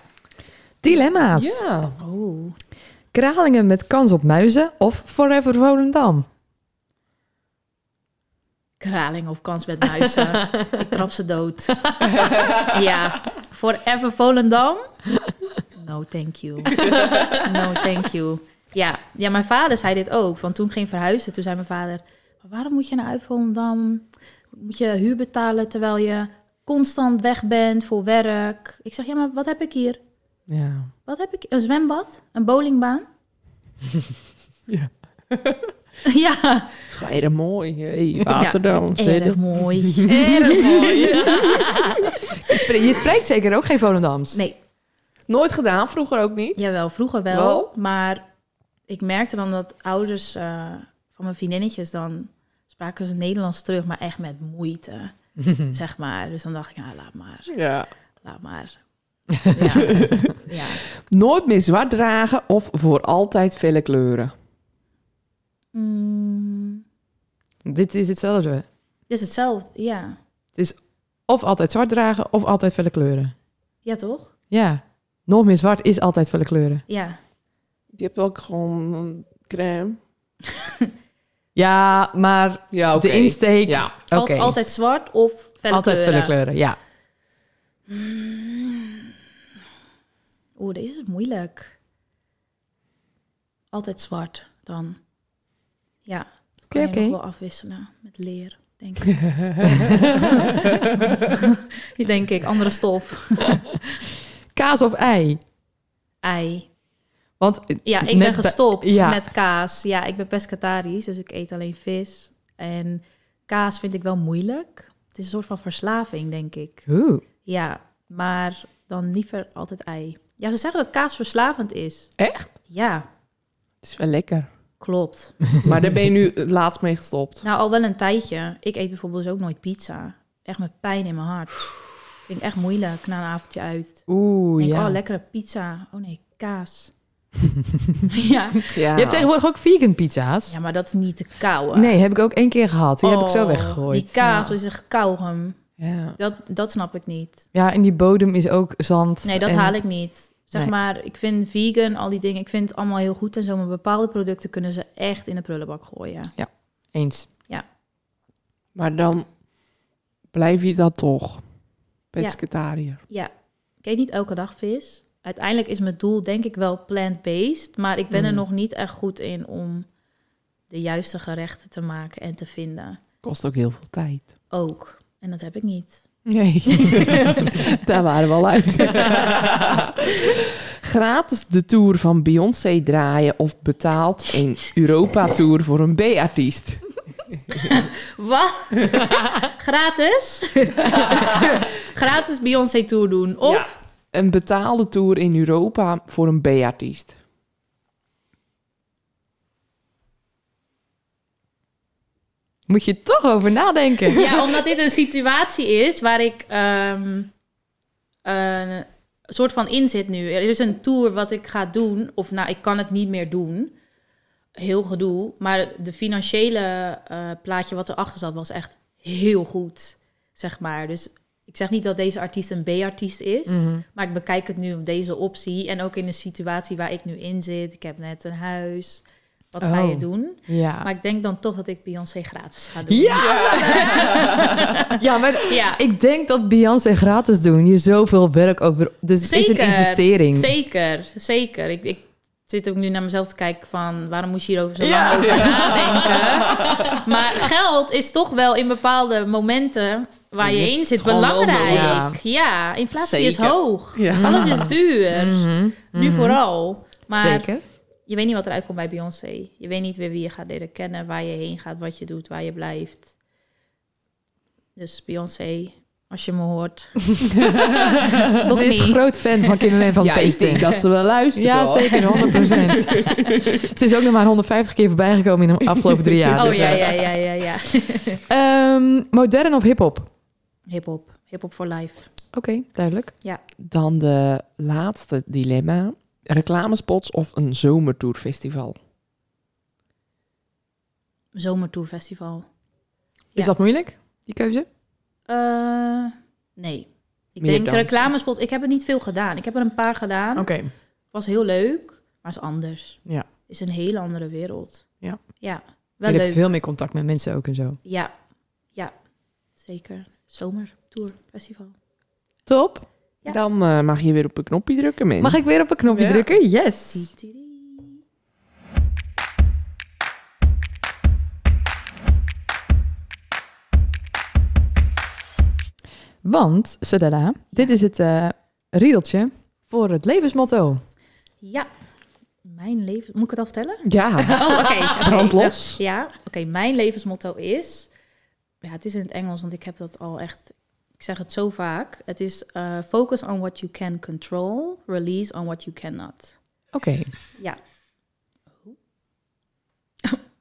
[SPEAKER 1] Dilemma's.
[SPEAKER 3] Ja.
[SPEAKER 4] Oh.
[SPEAKER 1] Kralingen met kans op muizen of Forever Volendam?
[SPEAKER 4] Kraling of kans met muizen. ik trap ze dood. ja, forever Volendam. No, thank you. No, thank you. Ja, ja, mijn vader zei dit ook. Want toen ik ging verhuizen, toen zei mijn vader... "Maar waarom moet je naar uit Volendam? Moet je huur betalen terwijl je constant weg bent voor werk? Ik zeg, ja, maar wat heb ik hier?
[SPEAKER 1] Ja.
[SPEAKER 4] Wat heb ik? Een zwembad? Een bowlingbaan?
[SPEAKER 3] Ja.
[SPEAKER 4] ja,
[SPEAKER 3] Het is gewoon erg mooi. Hey, Waterdam.
[SPEAKER 4] erg mooi.
[SPEAKER 1] Erg mooi. je spreekt zeker ook geen Volendams.
[SPEAKER 4] Nee,
[SPEAKER 3] Nooit gedaan, vroeger ook niet.
[SPEAKER 4] Jawel, vroeger wel.
[SPEAKER 3] Wel?
[SPEAKER 4] Maar ik merkte dan dat ouders eh, van mijn vriendinnetjes dan spraken ze Nederlands terug, maar echt met moeite, zeg maar. Dus dan dacht ik, ah, laat maar,
[SPEAKER 3] Ja.
[SPEAKER 4] laat maar. Ja, ja.
[SPEAKER 3] Nooit meer zwart dragen of voor altijd felle kleuren.
[SPEAKER 4] Mm,
[SPEAKER 1] Dit is hetzelfde.
[SPEAKER 4] dit is hetzelfde, ja.
[SPEAKER 1] Of altijd zwart dragen of altijd felle kleuren.
[SPEAKER 4] Ja, toch?
[SPEAKER 1] Ja. Nog meer zwart is altijd wel kleuren.
[SPEAKER 4] Ja.
[SPEAKER 3] Je hebt ook gewoon een crème.
[SPEAKER 1] Ja, maar
[SPEAKER 3] Ja,
[SPEAKER 1] de insteek...
[SPEAKER 3] Ja.
[SPEAKER 1] Oké.
[SPEAKER 4] Alt- altijd zwart of felle
[SPEAKER 1] Altijd
[SPEAKER 4] kleuren. Mm.
[SPEAKER 1] felle kleuren, ja.
[SPEAKER 4] Oeh, deze is moeilijk. Altijd zwart dan. Ja, dat kan
[SPEAKER 1] Oké,
[SPEAKER 4] je
[SPEAKER 1] oké.
[SPEAKER 4] nog wel afwisselen met leer, denk ik. denk ik, andere stof.
[SPEAKER 1] Kaas of ei?
[SPEAKER 4] Ei.
[SPEAKER 1] Want eh,
[SPEAKER 4] Ja, ik
[SPEAKER 1] Net
[SPEAKER 4] ben
[SPEAKER 1] bij-
[SPEAKER 4] gestopt
[SPEAKER 1] ja.
[SPEAKER 4] met kaas. Ja, ik ben pescatarisch, dus ik eet alleen vis. En kaas vind ik wel moeilijk. Het is een soort van verslaving, denk ik.
[SPEAKER 1] Oeh,
[SPEAKER 4] Ja, maar dan liever altijd ei. Ja, ze zeggen dat kaas verslavend is.
[SPEAKER 3] Echt?
[SPEAKER 4] Ja,
[SPEAKER 3] Het is wel lekker.
[SPEAKER 4] klopt.
[SPEAKER 3] Maar daar ben je nu het laatst mee gestopt.
[SPEAKER 4] Nou, al wel een tijdje. Ik eet bijvoorbeeld dus ook nooit pizza. Echt met pijn in mijn hart. Vind ik echt moeilijk na een avondje uit.
[SPEAKER 1] oeh
[SPEAKER 4] Denk,
[SPEAKER 1] ja.
[SPEAKER 4] oh, lekkere pizza. Oh nee, kaas. ja.
[SPEAKER 3] Ja.
[SPEAKER 1] Je hebt tegenwoordig ook vegan pizza's.
[SPEAKER 4] ja, maar dat is niet te kauwen.
[SPEAKER 1] Nee, heb ik ook één keer gehad. Die heb ik zo
[SPEAKER 4] Oh,
[SPEAKER 1] weggegooid.
[SPEAKER 4] Die kaas
[SPEAKER 1] Ja.
[SPEAKER 4] is echt kauwgum.
[SPEAKER 3] Ja.
[SPEAKER 4] Dat, dat snap ik niet.
[SPEAKER 1] Ja, en die bodem is ook zand.
[SPEAKER 4] Nee, dat
[SPEAKER 1] en-
[SPEAKER 4] haal ik niet. Zeg
[SPEAKER 1] Nee.
[SPEAKER 4] maar, ik vind vegan, al die dingen, ik vind het allemaal heel goed en zo. Maar bepaalde producten kunnen ze echt in de prullenbak gooien.
[SPEAKER 1] Eens.
[SPEAKER 3] Maar dan blijf je dat toch. Pescatariër.
[SPEAKER 4] Ja, ik eet niet elke dag vis. Uiteindelijk is mijn doel denk ik wel plant-based, maar ik ben er
[SPEAKER 1] Mm.
[SPEAKER 4] nog niet echt goed in om de juiste gerechten te maken en te vinden.
[SPEAKER 3] Kost ook heel veel tijd.
[SPEAKER 4] Ook. En dat heb ik niet.
[SPEAKER 3] Nee. daar waren we al uit. Gratis de tour van Beyoncé draaien of betaald een Europa-tour voor een B-artiest.
[SPEAKER 4] Wat? Gratis? Gratis Beyoncé Tour doen. Of
[SPEAKER 3] Een betaalde tour in Europa voor een B-artiest.
[SPEAKER 1] Moet je toch over nadenken.
[SPEAKER 4] Ja, omdat dit een situatie is waar ik ehm, een soort van in zit nu. Er is een tour wat ik ga doen, of nou, ik kan het niet meer doen. Heel gedoe. Maar de financiële eh, plaatje wat erachter zat, was echt heel goed, zeg maar. Dus ik zeg niet dat deze artiest een B-artiest is.
[SPEAKER 1] Mhm.
[SPEAKER 4] Maar ik bekijk het nu op deze optie. En ook in de situatie waar ik nu in zit. Ik heb net een huis. Wat ga je
[SPEAKER 1] Oh.
[SPEAKER 4] doen?
[SPEAKER 1] Ja.
[SPEAKER 4] Maar ik denk dan toch dat ik Beyoncé gratis ga doen.
[SPEAKER 1] Ja! Ja, maar
[SPEAKER 4] ja.
[SPEAKER 1] ik denk dat Beyoncé gratis doen je zoveel werk ook weer... Dus het is een
[SPEAKER 4] Zeker.
[SPEAKER 1] investering.
[SPEAKER 4] Zeker, zeker. Ik, ik zit ook nu naar mezelf te kijken van... waarom moest je hierover zo
[SPEAKER 1] Ja.
[SPEAKER 4] lang over nadenken? Maar geld is toch wel in bepaalde momenten... waar je,
[SPEAKER 3] Je hebt
[SPEAKER 4] in zit
[SPEAKER 3] het gewoon
[SPEAKER 4] belangrijk.
[SPEAKER 3] nodig.
[SPEAKER 4] Ja,
[SPEAKER 1] Ja.
[SPEAKER 4] inflatie is
[SPEAKER 3] Zeker.
[SPEAKER 4] hoog.
[SPEAKER 3] Ja.
[SPEAKER 4] Alles is duur.
[SPEAKER 1] Mhm,
[SPEAKER 4] Nu
[SPEAKER 1] mhm.
[SPEAKER 4] vooral. Maar
[SPEAKER 1] Zeker.
[SPEAKER 4] je weet niet wat eruit komt bij Beyoncé. Je weet niet weer wie je gaat leren kennen... waar je heen gaat, wat je doet, waar je blijft. Dus Beyoncé... Als je me hoort. Nog
[SPEAKER 1] Ze is
[SPEAKER 4] niet.
[SPEAKER 1] groot fan van Kim en van
[SPEAKER 3] ja, ik
[SPEAKER 1] feesten.
[SPEAKER 3] denk dat ze wel luistert.
[SPEAKER 1] Ja,
[SPEAKER 3] hoor.
[SPEAKER 1] zeker, 100%. ze is ook nog maar 150 keer voorbij gekomen in de afgelopen drie jaar.
[SPEAKER 4] oh
[SPEAKER 1] dus,
[SPEAKER 4] ja,
[SPEAKER 1] eh.
[SPEAKER 4] ja, ja, ja, ja.
[SPEAKER 1] Ehm, modern of hip-hop? Oké,
[SPEAKER 4] Hip-hop. Hip-hop for life.
[SPEAKER 1] duidelijk.
[SPEAKER 3] Dan de laatste dilemma. Reclamespots of een zomertourfestival?
[SPEAKER 4] Zomertourfestival.
[SPEAKER 1] Is
[SPEAKER 4] Ja.
[SPEAKER 1] dat moeilijk, die keuze?
[SPEAKER 4] Eh nee. Ik
[SPEAKER 3] Meer
[SPEAKER 4] denk
[SPEAKER 3] dansen.
[SPEAKER 4] reclamespots. Ik heb het niet veel gedaan. Ik heb er een paar gedaan.
[SPEAKER 1] Oké.
[SPEAKER 4] Was heel leuk, maar is anders.
[SPEAKER 1] Oh. Ja.
[SPEAKER 4] Is een hele andere wereld.
[SPEAKER 1] Ja.
[SPEAKER 4] Ja. Wel
[SPEAKER 1] Je
[SPEAKER 4] leuk.
[SPEAKER 1] hebt veel meer contact met mensen ook en zo.
[SPEAKER 4] Ja. Ja. Zeker. Zomertourfestival.
[SPEAKER 1] Top.
[SPEAKER 4] Ja.
[SPEAKER 3] Dan eh, mag je weer op een knopje drukken, mensen.
[SPEAKER 1] Mag ik weer op een knopje
[SPEAKER 3] Ja.
[SPEAKER 1] drukken? Yes.
[SPEAKER 4] Tididi.
[SPEAKER 1] Want, Sadala, dit is het eh, riedeltje voor het levensmotto.
[SPEAKER 4] Ja. Mijn leven. Moet ik het al vertellen?
[SPEAKER 3] Ja,
[SPEAKER 4] Oh, oké. oké.
[SPEAKER 3] brand los.
[SPEAKER 4] Ja, oké. mijn levensmotto is... Ja, het is in het Engels, want ik heb dat al echt... Ik zeg het zo vaak. Het is eh, focus on what you can control, release on what you cannot.
[SPEAKER 1] Oké.
[SPEAKER 4] Ja.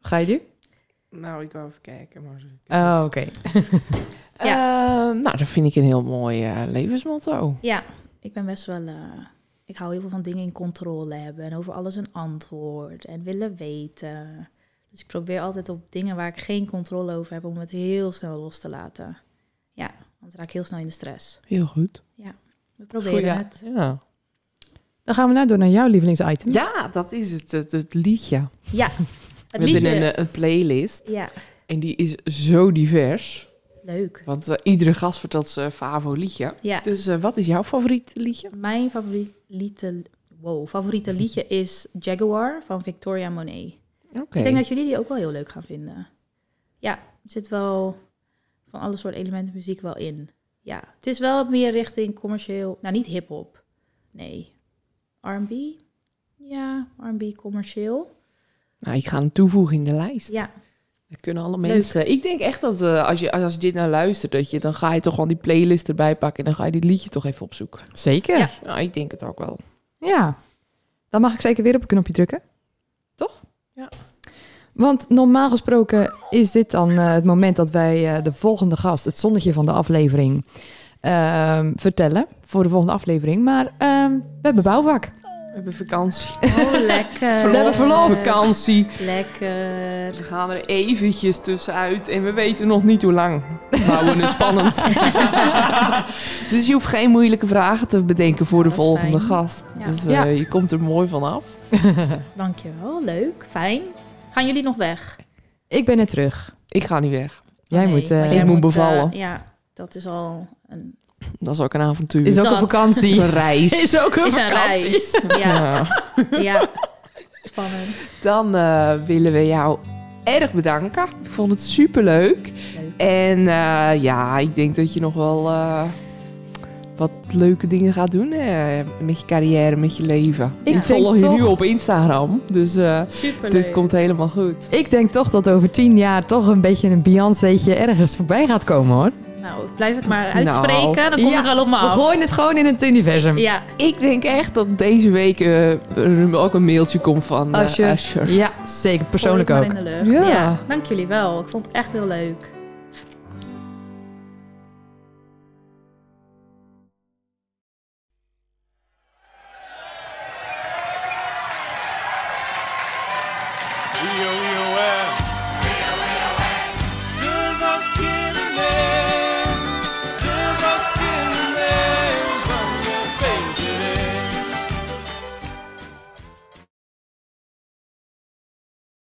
[SPEAKER 1] Ga je nu?
[SPEAKER 3] Nou, ik wou even kijken. Maar...
[SPEAKER 1] Oh, oké.
[SPEAKER 3] nou, dat vind ik een heel mooi eh, levensmotto.
[SPEAKER 4] Ja, ik ben best wel... eh, ik hou heel veel van dingen in controle hebben en over alles een antwoord en willen weten. Dus ik probeer altijd op dingen waar ik geen controle over heb om het heel snel los te laten. Ja, want dan raak ik heel snel in de stress.
[SPEAKER 3] Heel goed.
[SPEAKER 4] We proberen
[SPEAKER 3] Goeie-
[SPEAKER 4] het.
[SPEAKER 3] Ja.
[SPEAKER 1] Dan gaan we nou door naar jouw lievelingsitem.
[SPEAKER 3] Ja, dat is het, het, het liedje.
[SPEAKER 4] Ja, het
[SPEAKER 3] We hebben een,
[SPEAKER 4] liedje.
[SPEAKER 3] eh, een playlist
[SPEAKER 4] Ja,
[SPEAKER 3] en die is zo divers.
[SPEAKER 4] leuk.
[SPEAKER 3] Want eh, iedere gast vertelt zijn favoriet liedje.
[SPEAKER 4] Ja,
[SPEAKER 3] Dus eh, wat is jouw favoriet liedje?
[SPEAKER 4] mijn favoriete, wow, favoriete liedje is Jaguar van Victoria Monet.
[SPEAKER 3] Oké.
[SPEAKER 4] Ik denk dat jullie die ook wel heel leuk gaan vinden. Ja, er zit wel van alle soorten elementen muziek wel in. Ja, het is wel meer richting commercieel. Nou, niet hip-hop. Nee. RB? Ja, RB commercieel.
[SPEAKER 3] Nou, ik ga hem toevoegen in de lijst.
[SPEAKER 4] Ja,
[SPEAKER 3] Dat kunnen alle
[SPEAKER 4] Leuk.
[SPEAKER 3] mensen. Ik denk echt dat eh, als, je, als je dit nou luistert, dat je, dan ga je toch gewoon die playlist erbij pakken en dan ga je dit liedje toch even opzoeken.
[SPEAKER 1] Zeker. Ja.
[SPEAKER 4] Ja.
[SPEAKER 3] Nou, ik denk het ook wel.
[SPEAKER 1] Dan mag ik zeker weer op een knopje drukken. Toch?
[SPEAKER 3] Ja.
[SPEAKER 1] Want normaal gesproken is dit dan eh, het moment dat wij eh, de volgende gast, het zonnetje van de aflevering, ehm, vertellen voor de volgende aflevering. Maar ehm, we hebben bouwvak.
[SPEAKER 3] We hebben vakantie.
[SPEAKER 4] oh, lekker.
[SPEAKER 1] We hebben verlof.
[SPEAKER 3] Vakantie.
[SPEAKER 4] Lekker.
[SPEAKER 3] We gaan er eventjes tussenuit en we weten nog niet hoe lang. We houden het spannend. dus je hoeft geen moeilijke vragen te bedenken voor de
[SPEAKER 4] Dat is
[SPEAKER 3] volgende
[SPEAKER 4] fijn.
[SPEAKER 3] gast.
[SPEAKER 4] Ja.
[SPEAKER 3] Dus eh,
[SPEAKER 1] Ja.
[SPEAKER 3] je komt er mooi vanaf.
[SPEAKER 4] Dankjewel, leuk, fijn. Gaan jullie nog weg?
[SPEAKER 1] Ik ben net terug.
[SPEAKER 3] Ik ga niet weg.
[SPEAKER 1] Jij
[SPEAKER 4] Nee,
[SPEAKER 1] moet. eh,
[SPEAKER 4] want
[SPEAKER 3] ik moet
[SPEAKER 4] eh,
[SPEAKER 3] bevallen.
[SPEAKER 4] ja, dat is al een,
[SPEAKER 3] Dat is ook een avontuur.
[SPEAKER 1] is ook
[SPEAKER 4] eh, dat.
[SPEAKER 1] een vakantie.
[SPEAKER 3] een reis.
[SPEAKER 1] Is ook een
[SPEAKER 4] is een
[SPEAKER 1] vakantie.
[SPEAKER 4] reis. Ja,
[SPEAKER 3] Ja.
[SPEAKER 4] ja. Spannend.
[SPEAKER 3] Dan eh, willen we jou erg bedanken. Ik vond het superleuk.
[SPEAKER 4] Leuk.
[SPEAKER 3] En eh, ja, ik denk dat je nog wel eh, wat leuke dingen gaat doen. eh, met je carrière, met je leven.
[SPEAKER 1] Ik
[SPEAKER 3] Ik,
[SPEAKER 1] denk
[SPEAKER 3] volg je
[SPEAKER 1] toch- Oh,
[SPEAKER 3] nu op Instagram. Dus eh,
[SPEAKER 4] Superleuk.
[SPEAKER 3] dit komt helemaal goed.
[SPEAKER 1] Ik denk toch dat over tien jaar toch een beetje een Beyoncé'tje ergens voorbij gaat komen hoor.
[SPEAKER 4] Nou, blijf het maar uitspreken, dan komt
[SPEAKER 1] Ja,
[SPEAKER 4] het wel op me
[SPEAKER 1] We
[SPEAKER 4] af.
[SPEAKER 1] gooien het gewoon in het universum.
[SPEAKER 4] Ja,
[SPEAKER 3] Ik denk echt dat deze week eh, er ook een mailtje komt van eh,
[SPEAKER 1] Als je-
[SPEAKER 3] Usher.
[SPEAKER 1] Ja, zeker. Persoonlijk
[SPEAKER 4] gooi
[SPEAKER 1] ook.
[SPEAKER 4] het maar in de lucht.
[SPEAKER 3] Ja.
[SPEAKER 4] Ja. dank jullie wel. Ik vond het echt heel leuk.